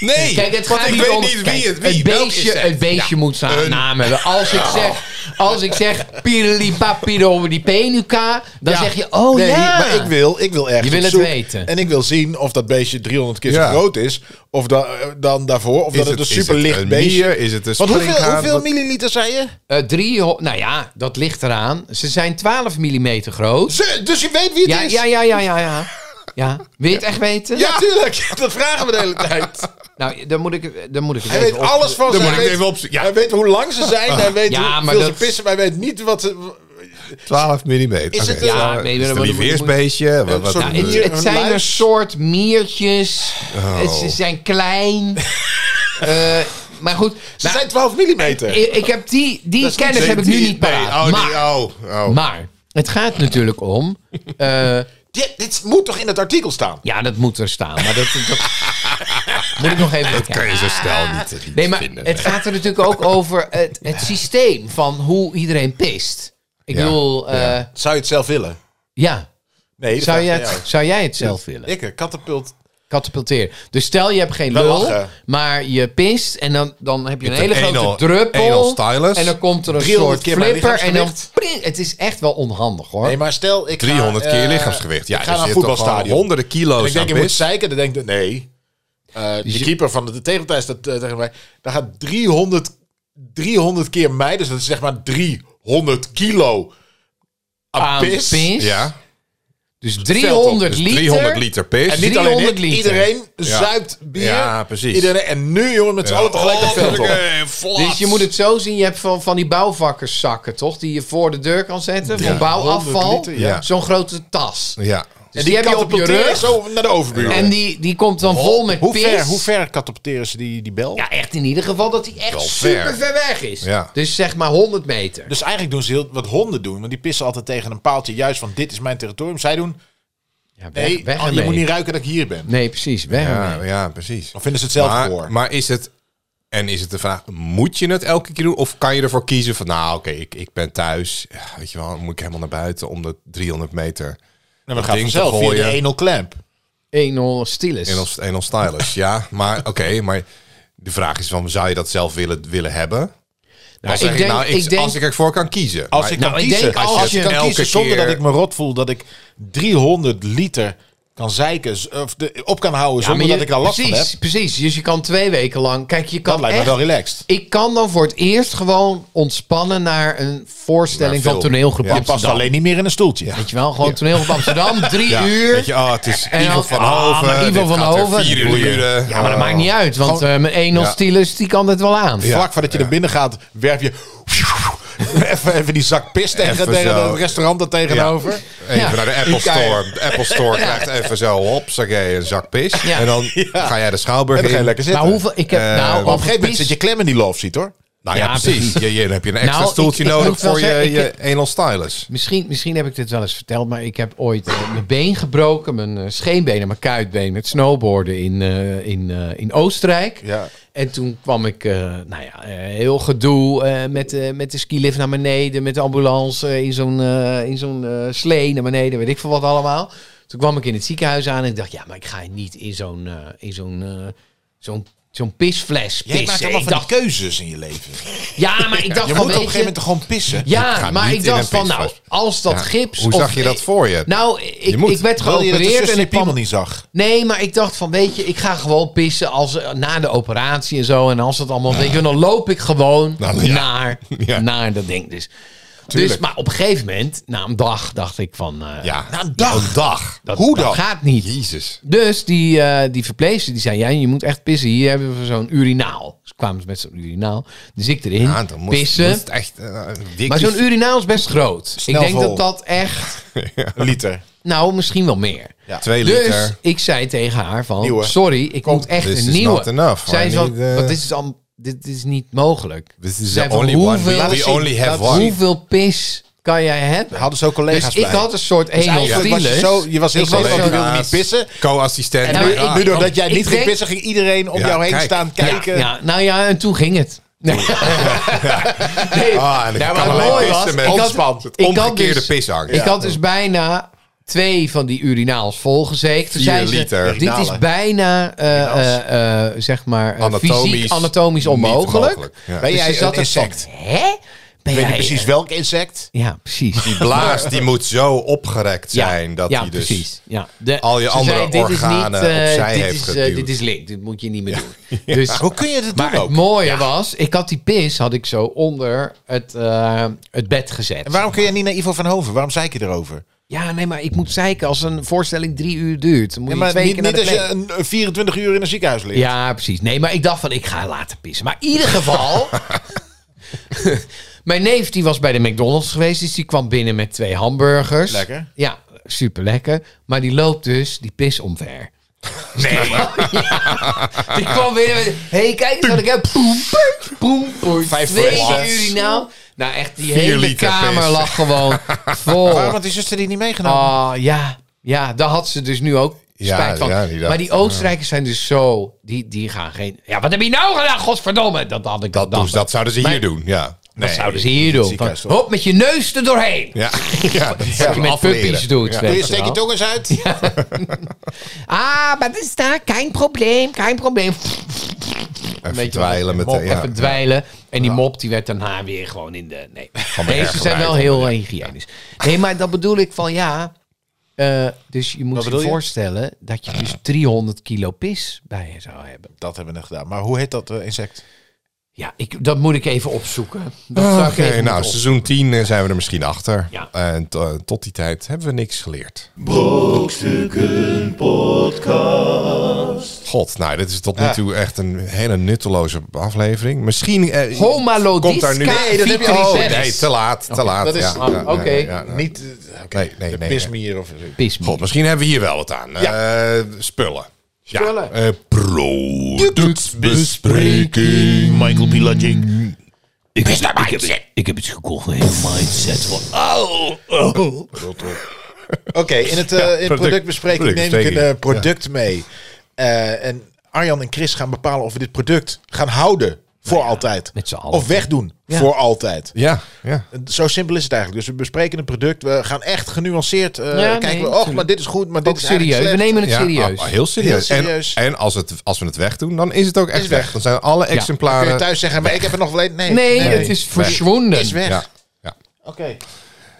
Speaker 2: Nee,
Speaker 3: Kijk, het
Speaker 2: want
Speaker 3: gaat
Speaker 2: ik
Speaker 3: hier
Speaker 2: weet
Speaker 3: om-
Speaker 2: niet wie
Speaker 3: kijk,
Speaker 2: het- wie,
Speaker 3: het
Speaker 2: welk
Speaker 3: beestje,
Speaker 2: insect.
Speaker 3: het beestje
Speaker 2: Ja,
Speaker 3: moet zijn
Speaker 2: een-
Speaker 3: naam hebben. Als ik zeg, als ik zeg pirlipapiro die penuka, dan
Speaker 4: Ja.
Speaker 3: zeg je, oh
Speaker 4: Nee,
Speaker 3: ja.
Speaker 4: maar ik wil, ik wil echt.
Speaker 3: Je wil
Speaker 4: op
Speaker 3: het
Speaker 4: zoek.
Speaker 3: weten.
Speaker 4: En ik wil zien of dat beestje 300 keer zo
Speaker 2: Ja.
Speaker 4: groot is. Of da- eh, dan daarvoor. Of dat het, een superlicht
Speaker 2: een
Speaker 4: beestje
Speaker 2: mier? Is het een
Speaker 4: Want hoeveel,
Speaker 2: springhaan?
Speaker 4: hoeveel
Speaker 2: Wat-
Speaker 4: milliliter zei je?
Speaker 3: Eh, drie, ho- nou ja, dat ligt eraan. Ze zijn 12 mm groot.
Speaker 4: Ze- dus je weet wie het
Speaker 3: Ja,
Speaker 4: is?
Speaker 3: ja, ja, ja, ja, ja. Ja, wil je het echt weten?
Speaker 4: Ja, tuurlijk. (laughs) Dat vragen we de hele tijd.
Speaker 3: (laughs) Nou, dan moet ik, het- dan moet ik het
Speaker 4: Hij
Speaker 3: even
Speaker 4: weet
Speaker 3: op-
Speaker 4: alles van
Speaker 2: Dan
Speaker 4: ze.
Speaker 2: moet ik
Speaker 4: Hij
Speaker 2: het
Speaker 4: weet,
Speaker 2: even opzoeken.
Speaker 4: hij
Speaker 2: Ja, Ah.
Speaker 4: weet hoe lang ze zijn. Hij weet
Speaker 3: Ja, maar
Speaker 4: hoeveel
Speaker 3: dat-
Speaker 4: ze pissen. Maar hij weet niet wat ze...
Speaker 2: 12 mm. Is
Speaker 4: het eh, een-
Speaker 3: Ja,
Speaker 2: ja,
Speaker 3: nee,
Speaker 2: is
Speaker 3: maar
Speaker 2: het een
Speaker 3: dan moet-
Speaker 2: lieveheersbeestje? Wat- wat-
Speaker 4: soort
Speaker 3: Nou, het,
Speaker 4: Een-
Speaker 3: het
Speaker 4: een
Speaker 3: zijn een
Speaker 4: luis? Oh. (laughs)
Speaker 3: soort miertjes. Het- ze zijn klein. Eh, maar goed.
Speaker 4: Ze
Speaker 3: nou,
Speaker 4: zijn 12 millimeter.
Speaker 3: ik, ik heb die, die kennis heb ik nu niet paraat.
Speaker 2: Nee, oh,
Speaker 3: maar,
Speaker 2: die- oh, oh.
Speaker 3: maar het gaat natuurlijk om... eh,
Speaker 4: Dit, dit moet toch in het artikel staan?
Speaker 3: ja, dat moet er staan. Maar dat,
Speaker 2: (laughs)
Speaker 3: dat moet ik nog even bekijken.
Speaker 2: kan je zo snel niet, niet
Speaker 3: Nee, maar
Speaker 2: vinden.
Speaker 3: het gaat er natuurlijk ook over het, het systeem van hoe iedereen pist. Ik
Speaker 2: Ja,
Speaker 3: bedoel, eh, ja.
Speaker 4: Zou je het zelf willen? Nee, dat
Speaker 3: Zou,
Speaker 4: vraag ik
Speaker 3: jij
Speaker 4: aan
Speaker 3: het,
Speaker 4: jou.
Speaker 3: zou jij het zelf willen?
Speaker 4: Ik, een katapult.
Speaker 3: Katapulteren. Dus stel je hebt geen
Speaker 4: Wel
Speaker 3: lul,
Speaker 4: lachen.
Speaker 3: maar je pist en dan, dan heb je een
Speaker 2: hebt
Speaker 3: hele
Speaker 2: een
Speaker 3: grote
Speaker 2: 1L
Speaker 3: druppel.
Speaker 2: 1L stylus.
Speaker 3: En dan komt er een
Speaker 4: 300
Speaker 3: soort
Speaker 4: keer mijn
Speaker 3: flipper en dan...
Speaker 4: lichaamsgewicht.
Speaker 3: pring. het is echt wel onhandig hoor.
Speaker 4: Nee, maar stel ik
Speaker 2: 300
Speaker 4: ga,
Speaker 2: keer
Speaker 4: eh,
Speaker 2: lichaamsgewicht. Ja,
Speaker 4: ik
Speaker 2: dus
Speaker 4: ga
Speaker 2: je
Speaker 4: naar een
Speaker 2: hebt toch gewoon
Speaker 4: voetbalstadion.
Speaker 2: honderden kilo's
Speaker 4: En ik denk,
Speaker 2: aan
Speaker 4: je moet
Speaker 2: pis.
Speaker 4: zeiken. Dan denk ik, nee. Eh, de keeper van de, de tegenpartij staat eh, tegen mij. Daar gaat 300, 300 keer mij. Dus dat is zeg maar 300 kilo aan,
Speaker 3: Aan
Speaker 4: pis.
Speaker 3: pis.
Speaker 2: Ja,
Speaker 3: Dus
Speaker 4: op.
Speaker 3: 300
Speaker 2: dus
Speaker 3: liter.
Speaker 2: 300 liter pis.
Speaker 4: En niet alleen dit,
Speaker 3: 300 liter.
Speaker 4: iedereen zuipt bier.
Speaker 2: Ja, precies.
Speaker 4: Iedereen, en nu, jongen, met z'n allen tegelijk
Speaker 2: Oh,
Speaker 4: het veld op.
Speaker 3: Dus je moet het zo zien, je hebt van, van die bouwvakkerszakken, toch? Die je voor de deur kan zetten, van bouwafval.
Speaker 4: 100 liter,
Speaker 2: ja.
Speaker 3: Zo'n grote tas.
Speaker 2: Ja.
Speaker 3: Dus die, heb je op je
Speaker 4: katapulteren
Speaker 3: rug
Speaker 4: zo naar de overbuur.
Speaker 3: en die, die komt dan vol met
Speaker 4: hoe
Speaker 3: pis.
Speaker 4: ver, hoe ver katapulteren ze die, die bel?
Speaker 3: Ja, echt in ieder geval dat hij echt
Speaker 2: Wel ver.
Speaker 3: super ver weg is.
Speaker 2: Ja.
Speaker 3: Dus zeg maar 100 meter.
Speaker 4: Dus eigenlijk doen ze heel, wat honden doen. Want die pissen altijd tegen een paaltje. Juist van dit is mijn territorium. Zij doen,
Speaker 3: Ja, weg,
Speaker 4: nee,
Speaker 3: weg
Speaker 4: oh, je
Speaker 3: ermee.
Speaker 4: moet niet ruiken dat ik hier ben.
Speaker 3: Nee, precies. Weg
Speaker 2: Ja,
Speaker 3: ermee.
Speaker 2: ja, precies.
Speaker 4: Dan vinden ze het zelf
Speaker 2: Maar,
Speaker 4: voor.
Speaker 2: maar is het... En is het de vraag, moet je het elke keer doen? Of kan je ervoor kiezen van, nou oké, ik, ik ben thuis. Ja, Weet je wel, dan moet ik helemaal naar buiten om de 300 meter.
Speaker 4: En dan
Speaker 2: dat
Speaker 4: gaat
Speaker 2: ding te
Speaker 4: vanzelf via
Speaker 2: gooien.
Speaker 4: de 1 clamp.
Speaker 3: 1-0 stilus.
Speaker 2: En als, en als
Speaker 3: (laughs)
Speaker 2: stylus, ja. Maar oké, maar de vraag is van, zou je dat zelf willen, willen hebben? als,
Speaker 3: Nou, ik
Speaker 2: ik
Speaker 3: denk-
Speaker 2: nou, ik,
Speaker 3: ik denk-
Speaker 2: als ik ervoor kan kiezen.
Speaker 4: Als
Speaker 2: Maar-
Speaker 4: ik
Speaker 3: nou,
Speaker 4: kan
Speaker 3: ik
Speaker 4: kiezen,
Speaker 3: denk
Speaker 4: als,
Speaker 3: als
Speaker 4: je
Speaker 3: je
Speaker 4: kan
Speaker 2: elke
Speaker 4: kiezen zonder
Speaker 2: keer-
Speaker 4: dat ik me rot voel dat ik 300 liter kan zeiken z- of de, op kan houden
Speaker 3: Ja, maar
Speaker 4: zonder
Speaker 3: je-
Speaker 4: dat ik daar last
Speaker 3: precies,
Speaker 4: van heb.
Speaker 3: Precies, dus je kan twee weken lang... Kijk, je kan
Speaker 4: Dat lijkt
Speaker 3: echt,
Speaker 4: me wel relaxed.
Speaker 3: Ik kan dan voor het eerst gewoon ontspannen naar een voorstelling
Speaker 2: Naar
Speaker 3: van
Speaker 2: film.
Speaker 3: toneelgroep
Speaker 2: Ja,
Speaker 4: Je past
Speaker 3: Amsterdam.
Speaker 4: alleen niet meer in een stoeltje.
Speaker 3: Weet je wel, gewoon toneelgroep Amsterdam, drie
Speaker 2: (laughs) Ja,
Speaker 3: uur.
Speaker 2: Weet je, oh, het is
Speaker 3: En
Speaker 2: Ivo
Speaker 3: dan-
Speaker 2: van
Speaker 3: ah,
Speaker 2: Hoven.
Speaker 3: maar Ivo
Speaker 2: dit
Speaker 3: van
Speaker 2: gaat er
Speaker 3: Hoven.
Speaker 2: Vier
Speaker 4: Doe je.
Speaker 2: uren.
Speaker 3: Ja, maar dat
Speaker 2: Oh.
Speaker 3: maakt niet uit, want eh mijn 1-0
Speaker 2: Ja.
Speaker 3: stilus, die kan het wel aan.
Speaker 4: Vlak voordat je naar binnen gaat, werp je (laughs) even, even die zak pis tegen,
Speaker 2: Even
Speaker 4: tegen
Speaker 2: zo.
Speaker 4: het restaurant daar tegenover.
Speaker 2: Even
Speaker 3: Ja.
Speaker 2: naar de Apple
Speaker 4: Kijk.
Speaker 2: Store. De Apple Store krijgt even zo, hopsakee, een zak pis.
Speaker 3: Ja.
Speaker 2: En dan ga jij de Schouwburg
Speaker 4: En dan
Speaker 2: in.
Speaker 4: ga je lekker zitten.
Speaker 3: Maar hoeveel... Ik heb,
Speaker 2: Eh,
Speaker 3: nou,
Speaker 2: op een
Speaker 4: Op een
Speaker 3: over
Speaker 4: gegeven moment
Speaker 3: pis-
Speaker 4: zit je klem in die love seat hoor.
Speaker 2: Nou ja,
Speaker 3: Ja,
Speaker 2: precies. Je, je- dan heb je een extra
Speaker 3: Nou, ik-
Speaker 2: stoeltje
Speaker 3: ik moet
Speaker 2: nodig
Speaker 3: wel
Speaker 2: voor je,
Speaker 3: zeggen,
Speaker 2: je
Speaker 3: ik-
Speaker 2: anal stylus.
Speaker 3: Misschien, misschien heb ik dit wel eens verteld, maar ik heb ooit eh, mijn been gebroken, mijn eh, scheenbeen en mijn kuitbeen met snowboarden in, eh, in, eh, in Oostenrijk.
Speaker 4: Ja.
Speaker 3: En toen kwam ik, eh, nou ja, eh, heel gedoe eh, met, eh, met de skilift naar beneden, met de ambulance eh, in zo'n, eh, in zo'n eh, slee naar beneden, weet ik veel wat allemaal. Toen kwam ik in het ziekenhuis aan en ik dacht, ja, maar ik ga niet in zo'n, eh, in zo'n, eh, zo'n, zo'n pisfles
Speaker 4: Jij maakt
Speaker 3: pissen.
Speaker 4: allemaal
Speaker 3: Ik
Speaker 4: van die
Speaker 3: dacht,
Speaker 4: keuzes in je leven.
Speaker 3: ja,
Speaker 4: (laughs)
Speaker 3: maar ik dacht
Speaker 4: Je moet
Speaker 3: van,
Speaker 4: op een
Speaker 3: weet
Speaker 4: gegeven moment toch gewoon pissen.
Speaker 2: Ik
Speaker 3: ja,
Speaker 2: ga
Speaker 3: maar
Speaker 2: niet
Speaker 3: ik
Speaker 2: in
Speaker 3: dacht
Speaker 2: een
Speaker 3: van, nou,
Speaker 2: pisfles.
Speaker 3: als dat
Speaker 2: Ja,
Speaker 3: gips...
Speaker 2: hoe
Speaker 3: of-
Speaker 2: zag je dat voor je?
Speaker 3: Nou, ik,
Speaker 2: Je moet.
Speaker 3: ik werd
Speaker 4: Wil je dat de
Speaker 3: geopereerd
Speaker 4: zus
Speaker 3: en
Speaker 4: je
Speaker 3: ik
Speaker 4: piemel
Speaker 3: kwam...
Speaker 4: niet zag?
Speaker 3: Nee, maar ik dacht van, weet je, ik ga gewoon pissen als, eh, na de operatie en zo. En als dat allemaal, weet je, dan loop ik gewoon
Speaker 2: Nou, ja.
Speaker 3: naar,
Speaker 2: (laughs) Ja.
Speaker 3: naar dat ding. Dus. dus,
Speaker 2: Tuurlijk.
Speaker 3: maar op een gegeven moment, na een dag, dacht ik van... eh,
Speaker 2: ja.
Speaker 4: Na een dag.
Speaker 2: Een dag.
Speaker 3: Dat,
Speaker 4: Hoe
Speaker 3: dat
Speaker 4: dan?
Speaker 3: gaat niet.
Speaker 2: Jezus.
Speaker 3: Dus die, eh die verpleegster die zei: Ja, je moet echt pissen. Hier hebben we zo'n urinaal. Dus kwamen ze met zo'n urinaal. Dus ik erin.
Speaker 2: Ja, Ah, dan moest,
Speaker 3: pissen.
Speaker 2: moest echt... eh, dik-
Speaker 3: maar zo'n urinaal is best groot.
Speaker 4: Snel
Speaker 3: ik denk
Speaker 4: vol.
Speaker 3: dat dat echt.
Speaker 2: (laughs)
Speaker 4: Een liter.
Speaker 3: Nou, misschien wel meer.
Speaker 4: Ja.
Speaker 2: Twee
Speaker 3: Dus
Speaker 2: liter.
Speaker 3: ik zei tegen haar van,
Speaker 4: Nieuwe.
Speaker 3: sorry, ik moet echt
Speaker 2: This
Speaker 3: een
Speaker 2: is
Speaker 3: nieuwe.
Speaker 2: not enough.
Speaker 3: Zij
Speaker 2: I
Speaker 3: zo,
Speaker 2: need, eh,
Speaker 3: want dit is, al, dit is niet mogelijk.
Speaker 2: This is
Speaker 3: Zij
Speaker 2: the
Speaker 3: van,
Speaker 2: only one.
Speaker 3: hoeveel-
Speaker 2: We-
Speaker 4: Laat
Speaker 2: We
Speaker 4: zien.
Speaker 2: only have
Speaker 4: Laat zien.
Speaker 2: one.
Speaker 3: Hoeveel pis kan jij hebben?
Speaker 4: Hadden ze ook
Speaker 3: dus
Speaker 4: collega's
Speaker 3: ik
Speaker 4: bij.
Speaker 3: had een soort dus
Speaker 4: eigenlijk was je zo- je was heel
Speaker 3: zo.
Speaker 4: collega-
Speaker 2: Collega's,
Speaker 4: Ik wilde niet pissen.
Speaker 2: Co-assistent. Ah,
Speaker 3: En nu-
Speaker 2: Ja.
Speaker 4: nu doordat jij
Speaker 3: Nou, ik
Speaker 4: niet ging
Speaker 3: denk-
Speaker 4: pissen, ging iedereen om
Speaker 2: Ja,
Speaker 4: jou heen
Speaker 2: kijk.
Speaker 4: staan kijken.
Speaker 3: Ja, ja, nou ja, en toen ging het. Nee, (laughs) nee.
Speaker 2: Ah, en ik
Speaker 3: Nou,
Speaker 2: kan
Speaker 3: maar
Speaker 2: alleen
Speaker 3: mooi
Speaker 2: pissen
Speaker 3: was,
Speaker 2: met
Speaker 3: ik had-
Speaker 2: Ontspan. het
Speaker 3: ik had
Speaker 2: omgekeerde
Speaker 3: dus-
Speaker 2: pishang.
Speaker 3: Ik had dus bijna twee van die urinaals volgezeekt. Toen
Speaker 2: Vier
Speaker 3: zei dus ze,
Speaker 2: liter.
Speaker 3: Dit is
Speaker 4: Urinalen.
Speaker 2: bijna
Speaker 3: eh, eh, eh, zeg maar eh,
Speaker 2: Anatomisch
Speaker 3: fysiek anatomisch
Speaker 2: niet
Speaker 3: onmogelijk.
Speaker 2: mogelijk, ja.
Speaker 4: Ben
Speaker 3: Dus
Speaker 4: jij
Speaker 3: ze zat
Speaker 4: een
Speaker 3: er van,
Speaker 4: insect?
Speaker 3: Hè? Ben
Speaker 4: Ik weet
Speaker 3: jij,
Speaker 4: niet precies
Speaker 3: eh,
Speaker 4: welk insect.
Speaker 3: Ja, precies.
Speaker 2: Die blaas die moet zo opgerekt zijn dat
Speaker 3: ja,
Speaker 2: hij dus...
Speaker 3: precies. Ja. De-
Speaker 2: al je
Speaker 3: ze
Speaker 2: andere
Speaker 3: zei, dit is
Speaker 2: organen
Speaker 3: niet, eh,
Speaker 2: opzij
Speaker 3: dit
Speaker 2: heeft
Speaker 3: is, eh,
Speaker 2: geduwd.
Speaker 3: dit is link, dit moet je niet meer
Speaker 2: (laughs)
Speaker 3: doen. Dus,
Speaker 4: Hoe kun je dat
Speaker 3: maar
Speaker 4: doen
Speaker 3: het
Speaker 4: ook?
Speaker 3: mooie was, ik had die pis had ik zo onder het, eh, het bed gezet.
Speaker 4: En waarom kun je niet naar Ivo van Hoven? Waarom zei ik je erover?
Speaker 3: Ja, nee, maar ik moet zeiken als een voorstelling drie uur duurt. Dan moet
Speaker 4: Ja,
Speaker 3: je
Speaker 4: maar
Speaker 3: twee
Speaker 4: niet
Speaker 3: keer naar
Speaker 4: niet
Speaker 3: de
Speaker 4: als je
Speaker 3: plek.
Speaker 4: een een 24 uur in een ziekenhuis ligt.
Speaker 3: Ja, precies. Nee, maar ik dacht van, ik ga laten pissen. Maar in ieder
Speaker 4: (laughs)
Speaker 3: geval... Mijn neef die was bij de McDonald's geweest, dus die kwam binnen met twee hamburgers.
Speaker 4: Lekker.
Speaker 3: Ja, super lekker. Maar die loopt dus die pis omver.
Speaker 2: Nee.
Speaker 3: (laughs) Die kwam weer met... hey, kijk eens wat ik heb. Poem, poem, poem, poem.
Speaker 4: Vijf
Speaker 3: Twee
Speaker 4: voor
Speaker 3: keer
Speaker 4: één.
Speaker 3: urinaal. Nou, echt, die
Speaker 2: Vier
Speaker 3: hele
Speaker 2: liter
Speaker 3: kamer
Speaker 2: feest.
Speaker 3: lag gewoon
Speaker 4: (laughs)
Speaker 3: vol.
Speaker 4: Waarom had die zuster die niet meegenomen?
Speaker 3: Ah, ja. Ja, daar had ze dus nu ook
Speaker 2: Ja,
Speaker 3: spijt van.
Speaker 2: ja, die dacht,
Speaker 3: maar die Oostenrijkers zijn dus zo... Die, die gaan geen... Ja, wat heb je nou gedaan? Godverdomme. Dat had ik
Speaker 2: Dat,
Speaker 3: dan.
Speaker 2: doen ze- Dus dat zouden ze hier doen, ja. Nee,
Speaker 3: Dat zouden ze hier doen. Van,
Speaker 2: ziekenhuis toch?
Speaker 3: hop, met je neus er doorheen. (laughs)
Speaker 2: Ja, ja. dat
Speaker 3: Wat je
Speaker 2: ja,
Speaker 3: met
Speaker 2: afleren.
Speaker 3: puppies doet.
Speaker 2: Ja.
Speaker 3: weet je
Speaker 4: Steek je
Speaker 3: wel.
Speaker 4: tong eens uit.
Speaker 3: Ah, wat is daar? Geen probleem, geen probleem.
Speaker 2: Even
Speaker 3: Weet je wel,
Speaker 2: dweilen met
Speaker 3: mop,
Speaker 2: de... Ja.
Speaker 3: Even dweilen. En die mop die werd daarna weer gewoon in de... Nee,
Speaker 2: erg
Speaker 3: deze zijn wel
Speaker 2: gewijd,
Speaker 3: heel hygiënisch. Nee, maar dat bedoel ik van ja... eh, dus je moet je
Speaker 4: bedoel je?
Speaker 3: voorstellen dat je dus 300 kilo pis bij je zou hebben.
Speaker 4: Dat hebben we net gedaan. Maar hoe heet dat eh, insect?
Speaker 3: Ja, ik, dat moet ik even opzoeken. Dat
Speaker 2: Oké,
Speaker 3: zou ik even
Speaker 2: nou,
Speaker 3: moeten op-
Speaker 2: seizoen 10 eh, zijn we er misschien achter.
Speaker 3: Ja.
Speaker 2: En to- eh, tot die tijd hebben we niks geleerd.
Speaker 1: Brokstukken Podcast.
Speaker 2: God, nou, dit is tot nu toe echt een hele nutteloze aflevering. Misschien eh,
Speaker 3: Homalodisca
Speaker 2: komt daar nu...
Speaker 3: Nee, dat heb je-
Speaker 2: Oh,
Speaker 3: vitreseris.
Speaker 2: nee, te laat, te laat.
Speaker 4: dat is-
Speaker 2: ja,
Speaker 4: oh,
Speaker 2: ja, ja,
Speaker 3: oké.
Speaker 2: ja, ja.
Speaker 4: Niet eh, oké,
Speaker 2: Nee, nee,
Speaker 4: de
Speaker 2: nee,
Speaker 4: pismier of
Speaker 3: Pis
Speaker 2: God, misschien hebben we hier wel wat aan. Eh, spullen.
Speaker 3: Spullen.
Speaker 2: Ja. eh, productbespreking.
Speaker 5: Michael P. Lodging. Ik, heb- ik, heb,
Speaker 3: mindset.
Speaker 5: ik heb het gekocht, een hele mindset van... Au! Oh.
Speaker 4: Oké, in het eh, in
Speaker 2: product-
Speaker 4: productbespreking neem ik
Speaker 2: productbespreking,
Speaker 4: een eh, product mee. Eh, en Arjan en Chris gaan bepalen of we dit product gaan houden voor altijd.
Speaker 3: Nou met z'n allen.
Speaker 4: Of wegdoen voor altijd.
Speaker 2: Ja, ja.
Speaker 4: Zo simpel is het eigenlijk. Dus we bespreken een product. We gaan echt genuanceerd eh, kijken.
Speaker 3: nee,
Speaker 4: we, och,
Speaker 3: natuurlijk.
Speaker 4: maar dit is goed, maar dit
Speaker 3: Ook
Speaker 4: is eigenlijk
Speaker 3: serieus. We
Speaker 4: slecht.
Speaker 3: nemen het
Speaker 2: Ja,
Speaker 3: serieus.
Speaker 2: ah, ah, heel serieus.
Speaker 4: Heel serieus.
Speaker 2: En, en als, het, als we het wegdoen, dan is het ook echt
Speaker 4: het
Speaker 2: weg.
Speaker 4: weg.
Speaker 2: Dan zijn alle
Speaker 4: Dan
Speaker 2: exemplaren...
Speaker 4: kun je thuis zeggen, maar ik heb er nog wel een. Nee,
Speaker 3: nee, het is verschwonden.
Speaker 4: is weg.
Speaker 2: ja, ja.
Speaker 4: Oké.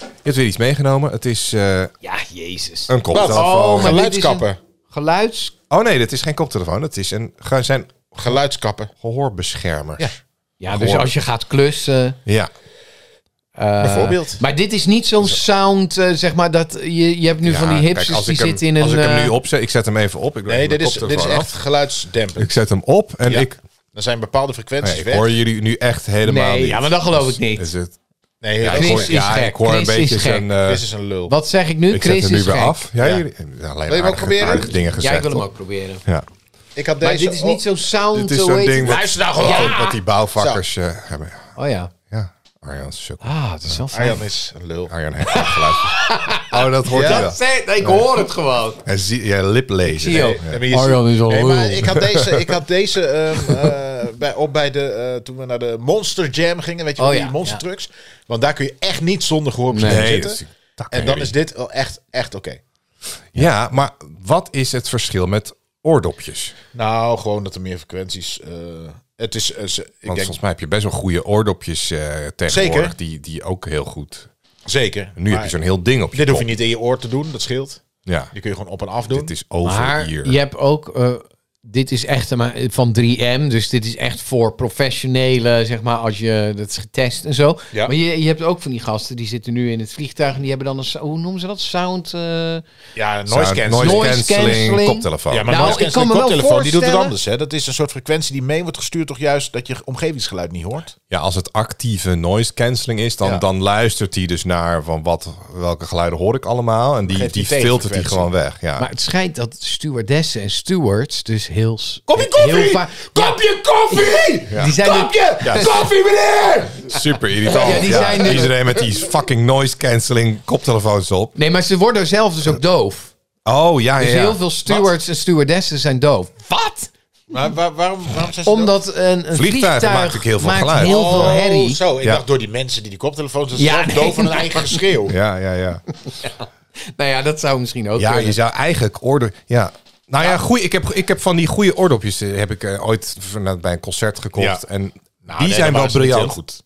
Speaker 2: Je hebt weer iets meegenomen. Het is eh,
Speaker 3: Ja, jezus.
Speaker 2: een
Speaker 4: Oh,
Speaker 2: koptelefoon.
Speaker 3: maar dit is
Speaker 4: geluidskappen.
Speaker 3: een Geluids...
Speaker 2: Oh nee, dat is geen koptelefoon. Dat is een, ge- zijn
Speaker 4: Geluidskappen.
Speaker 3: Eh,
Speaker 2: gehoorbeschermers. Ja.
Speaker 3: Ja, dus als je gaat klussen...
Speaker 4: Bijvoorbeeld.
Speaker 3: Maar dit is niet zo'n sound, eh, zeg maar, dat je, je hebt nu
Speaker 2: Ja,
Speaker 3: van die
Speaker 2: kijk,
Speaker 3: hipsters
Speaker 2: als
Speaker 3: die
Speaker 2: ik hem-
Speaker 3: zitten in een...
Speaker 2: Als ik hem nu
Speaker 3: eh,
Speaker 2: opzet, ik zet hem even op. Ik doe
Speaker 4: Nee,
Speaker 2: even
Speaker 4: dit
Speaker 2: mijn
Speaker 4: is, dit is
Speaker 2: koptelefoon
Speaker 4: echt
Speaker 2: af.
Speaker 4: geluidsdempend.
Speaker 2: Ik zet hem op en
Speaker 4: Ja.
Speaker 2: ik...
Speaker 4: Er zijn bepaalde frequenties
Speaker 2: Nee, ik
Speaker 4: weg.
Speaker 2: hoor jullie nu echt helemaal
Speaker 3: Nee,
Speaker 2: niet.
Speaker 3: ja, maar dat geloof ik niet.
Speaker 2: Is het,
Speaker 4: Nee,
Speaker 2: ja,
Speaker 4: dat
Speaker 2: ik
Speaker 3: Chris
Speaker 2: hoor,
Speaker 3: is
Speaker 2: ja,
Speaker 3: gek.
Speaker 2: ik hoor een
Speaker 3: Chris is
Speaker 2: beetje
Speaker 3: gek.
Speaker 2: zo'n... eh,
Speaker 4: Dit is een lul.
Speaker 3: Wat zeg ik nu?
Speaker 2: ik zet
Speaker 3: Chris
Speaker 2: hem nu
Speaker 3: is
Speaker 2: weer
Speaker 3: gek.
Speaker 2: af. Ja,
Speaker 4: Ja.
Speaker 2: jullie- ja, alleen
Speaker 4: hem ook
Speaker 2: aardige-
Speaker 4: proberen?
Speaker 2: aardige dingen gezegd.
Speaker 3: Ja, ik wil hem
Speaker 2: toch?
Speaker 3: ook proberen.
Speaker 2: Ja.
Speaker 4: Ik had deze.
Speaker 3: Maar dit is niet
Speaker 4: oh,
Speaker 3: zo'n sound...
Speaker 2: Dit is
Speaker 3: hoe
Speaker 2: zo'n
Speaker 3: heet
Speaker 2: ding
Speaker 3: het?
Speaker 2: wat,
Speaker 3: nou Ja.
Speaker 2: wat die bouwvakkers eh, hebben.
Speaker 3: Oh ja.
Speaker 2: Ja, Arjan is ook
Speaker 3: Ah, dat is wel fijn.
Speaker 4: Arjan is een lul.
Speaker 2: Arjan heeft echt geluisterd.
Speaker 4: (laughs)
Speaker 2: Oh, dat hoort
Speaker 4: Ja?
Speaker 2: je wel.
Speaker 3: ik hoor het gewoon.
Speaker 2: En zie je lip lezen.
Speaker 3: Zie je ook.
Speaker 4: Ja, maar je
Speaker 3: Arjan
Speaker 4: ziet-
Speaker 3: is al
Speaker 4: nee, maar
Speaker 3: lul.
Speaker 4: ik had deze, ik
Speaker 2: (laughs)
Speaker 4: had deze ehm, eh, bij, op bij de, eh, toen we naar de Monster Jam gingen, weet je wel,
Speaker 3: Oh, ja,
Speaker 4: die monster trucks. Want daar kun je echt niet zonder gehoorbescherming
Speaker 2: Nee, dat is-
Speaker 4: zitten.
Speaker 2: dat kan
Speaker 4: en dan
Speaker 2: niet.
Speaker 4: is dit wel echt, echt oké.
Speaker 2: Ja, maar wat is het verschil met oordopjes?
Speaker 4: Nou, gewoon dat er meer frequenties... eh, het is, eh, ze- ik
Speaker 2: Want
Speaker 4: denk,
Speaker 2: volgens mij heb je best wel goede oordopjes eh, tegenwoordig.
Speaker 4: Zeker.
Speaker 2: Die, die ook heel goed...
Speaker 4: zeker.
Speaker 2: Nu heb
Speaker 4: Maar
Speaker 2: je zo'n heel ding op je
Speaker 4: Dit hoef je
Speaker 2: kop.
Speaker 4: niet in je oor te doen, dat scheelt.
Speaker 2: Ja,
Speaker 4: Die kun je gewoon op en af doen.
Speaker 2: dit is over
Speaker 3: Maar
Speaker 2: hier.
Speaker 3: je hebt ook... eh, dit is echt eh, maar, van 3M, dus dit is echt voor professionele, zeg maar, als je dat is getest en zo.
Speaker 4: Ja.
Speaker 3: Maar je, je hebt ook van die gasten, die zitten nu in het vliegtuig en die hebben dan een, so- hoe noemen ze dat? Sound... eh,
Speaker 4: ja, noise
Speaker 2: Zou-
Speaker 4: cancelling.
Speaker 3: Noise cancelling.
Speaker 2: koptelefoon.
Speaker 4: Ja, maar
Speaker 3: Nou,
Speaker 4: noise
Speaker 3: ik kan
Speaker 4: cancelling
Speaker 3: me wel
Speaker 4: koptelefoon, die doet het
Speaker 3: voorstellen-
Speaker 4: anders. Hè? Dat is een soort frequentie die mee wordt gestuurd, toch juist dat je omgevingsgeluid niet hoort.
Speaker 2: Ja, als het actieve noise cancelling is, dan,
Speaker 4: Ja.
Speaker 2: dan luistert hij dus naar van wat, welke geluiden hoor ik allemaal. En die,
Speaker 4: Geeft
Speaker 2: die
Speaker 4: die
Speaker 2: filtert hij
Speaker 4: tegenfrequentie.
Speaker 2: gewoon weg. Ja.
Speaker 3: Maar het schijnt dat stewardessen en stewards dus heel... s-
Speaker 5: Kopje
Speaker 3: heel
Speaker 5: koffie!
Speaker 3: vaak-
Speaker 5: Kopje koffie!
Speaker 3: (laughs) Die zijn er-
Speaker 5: Kopje
Speaker 2: Ja.
Speaker 5: koffie, meneer!
Speaker 2: Super irritant.
Speaker 3: Ja, die
Speaker 2: Ja,
Speaker 3: zijn er-
Speaker 2: Iedereen met die fucking noise cancelling koptelefoons op.
Speaker 3: Nee, maar ze worden zelf dus ook doof.
Speaker 2: Oh ja,
Speaker 3: Dus
Speaker 2: ja, ja.
Speaker 3: heel veel stewards en stewardessen zijn doof.
Speaker 5: Wat?
Speaker 4: Maar waar- waarom, waarom zijn ze dat-
Speaker 3: Omdat een, een
Speaker 2: Vliegtuigen
Speaker 3: vliegtuig
Speaker 2: maakt ook heel veel
Speaker 3: maakt
Speaker 2: geluid.
Speaker 3: heel veel
Speaker 4: Oh,
Speaker 3: herrie.
Speaker 4: Zo, ik
Speaker 2: Ja.
Speaker 4: dacht door die mensen die die koptelefoons hadden,
Speaker 3: Ja,
Speaker 4: ja,
Speaker 3: nee.
Speaker 4: doof van hun eigen geschreeuw.
Speaker 2: Ja, ja, ja.
Speaker 3: Nou ja, dat zou misschien ook
Speaker 2: Ja,
Speaker 3: kunnen.
Speaker 2: je zou eigenlijk orde. Ja. Nou
Speaker 3: Ah.
Speaker 2: ja, goeie, ik, heb, ik heb van die goede oordopjes eh, heb ik eh, ooit van- bij een concert gekocht.
Speaker 4: Ja.
Speaker 2: En
Speaker 4: Nou,
Speaker 2: die
Speaker 4: nee,
Speaker 2: zijn wel
Speaker 4: dan waren ze niet
Speaker 2: briljant.
Speaker 4: heel goed.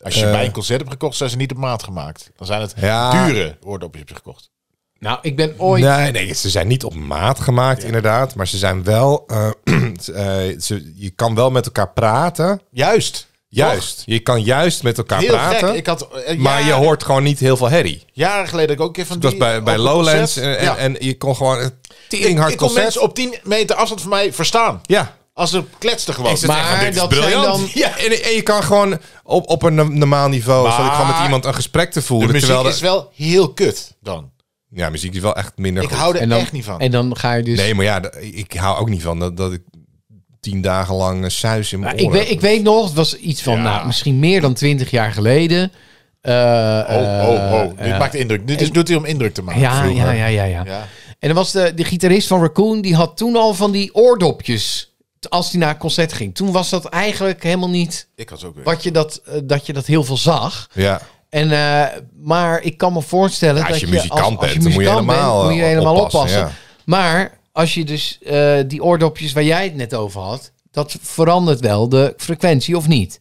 Speaker 4: Als je bij een concert hebt gekocht, zijn ze niet op maat gemaakt. Dan zijn het
Speaker 2: Eh. Ja.
Speaker 4: dure oordopjes heb je gekocht.
Speaker 3: Nou, ik ben ooit...
Speaker 2: Nee, nee, ze zijn niet op maat gemaakt, inderdaad. Maar ze zijn wel. eh, (clears throat) eh, ze, je kan wel met elkaar praten.
Speaker 4: Juist.
Speaker 2: Juist. Je kan juist met elkaar
Speaker 4: Heel
Speaker 2: praten.
Speaker 4: gek. Ik had, eh,
Speaker 2: Maar je
Speaker 4: jaren-
Speaker 2: hoort gewoon niet heel veel herrie.
Speaker 4: Jaren geleden heb ik ook een keer van
Speaker 2: Dat was
Speaker 4: die...
Speaker 2: bij, bij
Speaker 4: op een
Speaker 2: Lowlands.
Speaker 4: concert.
Speaker 2: En, en,
Speaker 4: Ja.
Speaker 2: en je kon gewoon een teringhard
Speaker 4: ik kon
Speaker 2: concert.
Speaker 4: mensen op 10 meter afstand van mij verstaan.
Speaker 2: Ja.
Speaker 4: Als ze kletsten gewoon.
Speaker 2: Ik zit
Speaker 3: Maar
Speaker 2: echt van, dit is
Speaker 3: dat
Speaker 2: briljant.
Speaker 3: zijn dan-
Speaker 2: Ja, en, en je kan gewoon op, op een normaal niveau... zal ik gewoon met iemand een gesprek te
Speaker 4: de
Speaker 2: voeren.
Speaker 4: muziek
Speaker 2: terwijl de-
Speaker 4: is wel heel kut dan.
Speaker 2: Ja, muziek is wel echt minder
Speaker 4: Ik
Speaker 2: goed.
Speaker 4: hou er
Speaker 3: En dan,
Speaker 4: echt niet van.
Speaker 3: En dan ga je dus...
Speaker 2: Nee, maar ja, d- ik hou ook niet van dat, dat ik tien dagen lang eh, suis in mijn
Speaker 3: Maar ik,
Speaker 2: oren
Speaker 3: weet, ik weet nog, het was iets van, nou, misschien meer dan twintig jaar geleden. Eh,
Speaker 4: oh, oh, oh.
Speaker 3: eh,
Speaker 4: Dit maakt indruk. Dit is, doet hij om indruk te maken.
Speaker 3: ja,
Speaker 4: vroeger.
Speaker 3: ja, ja, ja, ja.
Speaker 4: Ja.
Speaker 3: En dan was de, de gitarist van Raccoon, die had toen al van die oordopjes. t- Als hij naar een concert ging. Toen was dat eigenlijk helemaal niet
Speaker 4: Ik had ook weer.
Speaker 3: wat je dat, eh, dat, je dat heel veel zag.
Speaker 2: Ja.
Speaker 3: En, eh, maar ik kan me voorstellen
Speaker 2: Ja,
Speaker 3: dat
Speaker 2: als je muzikant bent, dan
Speaker 3: muzikant
Speaker 2: moet je helemaal,
Speaker 3: moet je
Speaker 2: eh,
Speaker 3: helemaal
Speaker 2: oppassen,
Speaker 3: oppassen. Maar als je dus eh, die oordopjes waar jij het net over had, dat verandert wel de frequentie of niet?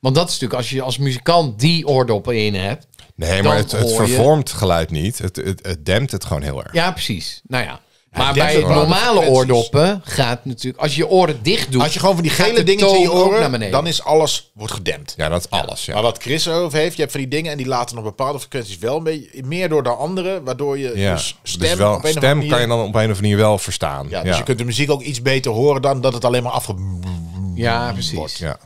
Speaker 3: Want dat is natuurlijk als je als muzikant die oordoppen in hebt.
Speaker 2: Nee, maar
Speaker 3: Dan
Speaker 2: het, het
Speaker 3: hoor je-
Speaker 2: vervormt geluid niet. Het, het, het dempt het gewoon heel erg.
Speaker 3: Ja, precies. Nou ja. Maar
Speaker 4: dat
Speaker 3: bij
Speaker 4: is
Speaker 3: het
Speaker 4: wel waar, de
Speaker 3: normale
Speaker 4: frequenties.
Speaker 3: oordoppen gaat natuurlijk als je je oren dicht doet.
Speaker 4: Als je gewoon van die
Speaker 3: gaat
Speaker 4: gele
Speaker 3: de
Speaker 4: dingen in je
Speaker 3: toon ook naar
Speaker 4: oren,
Speaker 3: beneden.
Speaker 4: dan is alles wordt gedempt.
Speaker 2: Ja, dat is alles. Ja.
Speaker 4: Maar wat Chris over heeft, je hebt van die dingen en die laten op bepaalde frequenties wel mee, meer door dan andere, waardoor je
Speaker 2: Ja.
Speaker 4: je s-
Speaker 2: Dus
Speaker 4: stem
Speaker 2: wel,
Speaker 4: op een of
Speaker 2: stem
Speaker 4: andere
Speaker 2: kan je
Speaker 4: manier-
Speaker 2: dan op een of andere manier wel verstaan.
Speaker 4: Ja, dus je kunt de muziek ook iets beter horen dan dat het alleen maar afge...
Speaker 3: Ja, precies.
Speaker 2: Ja.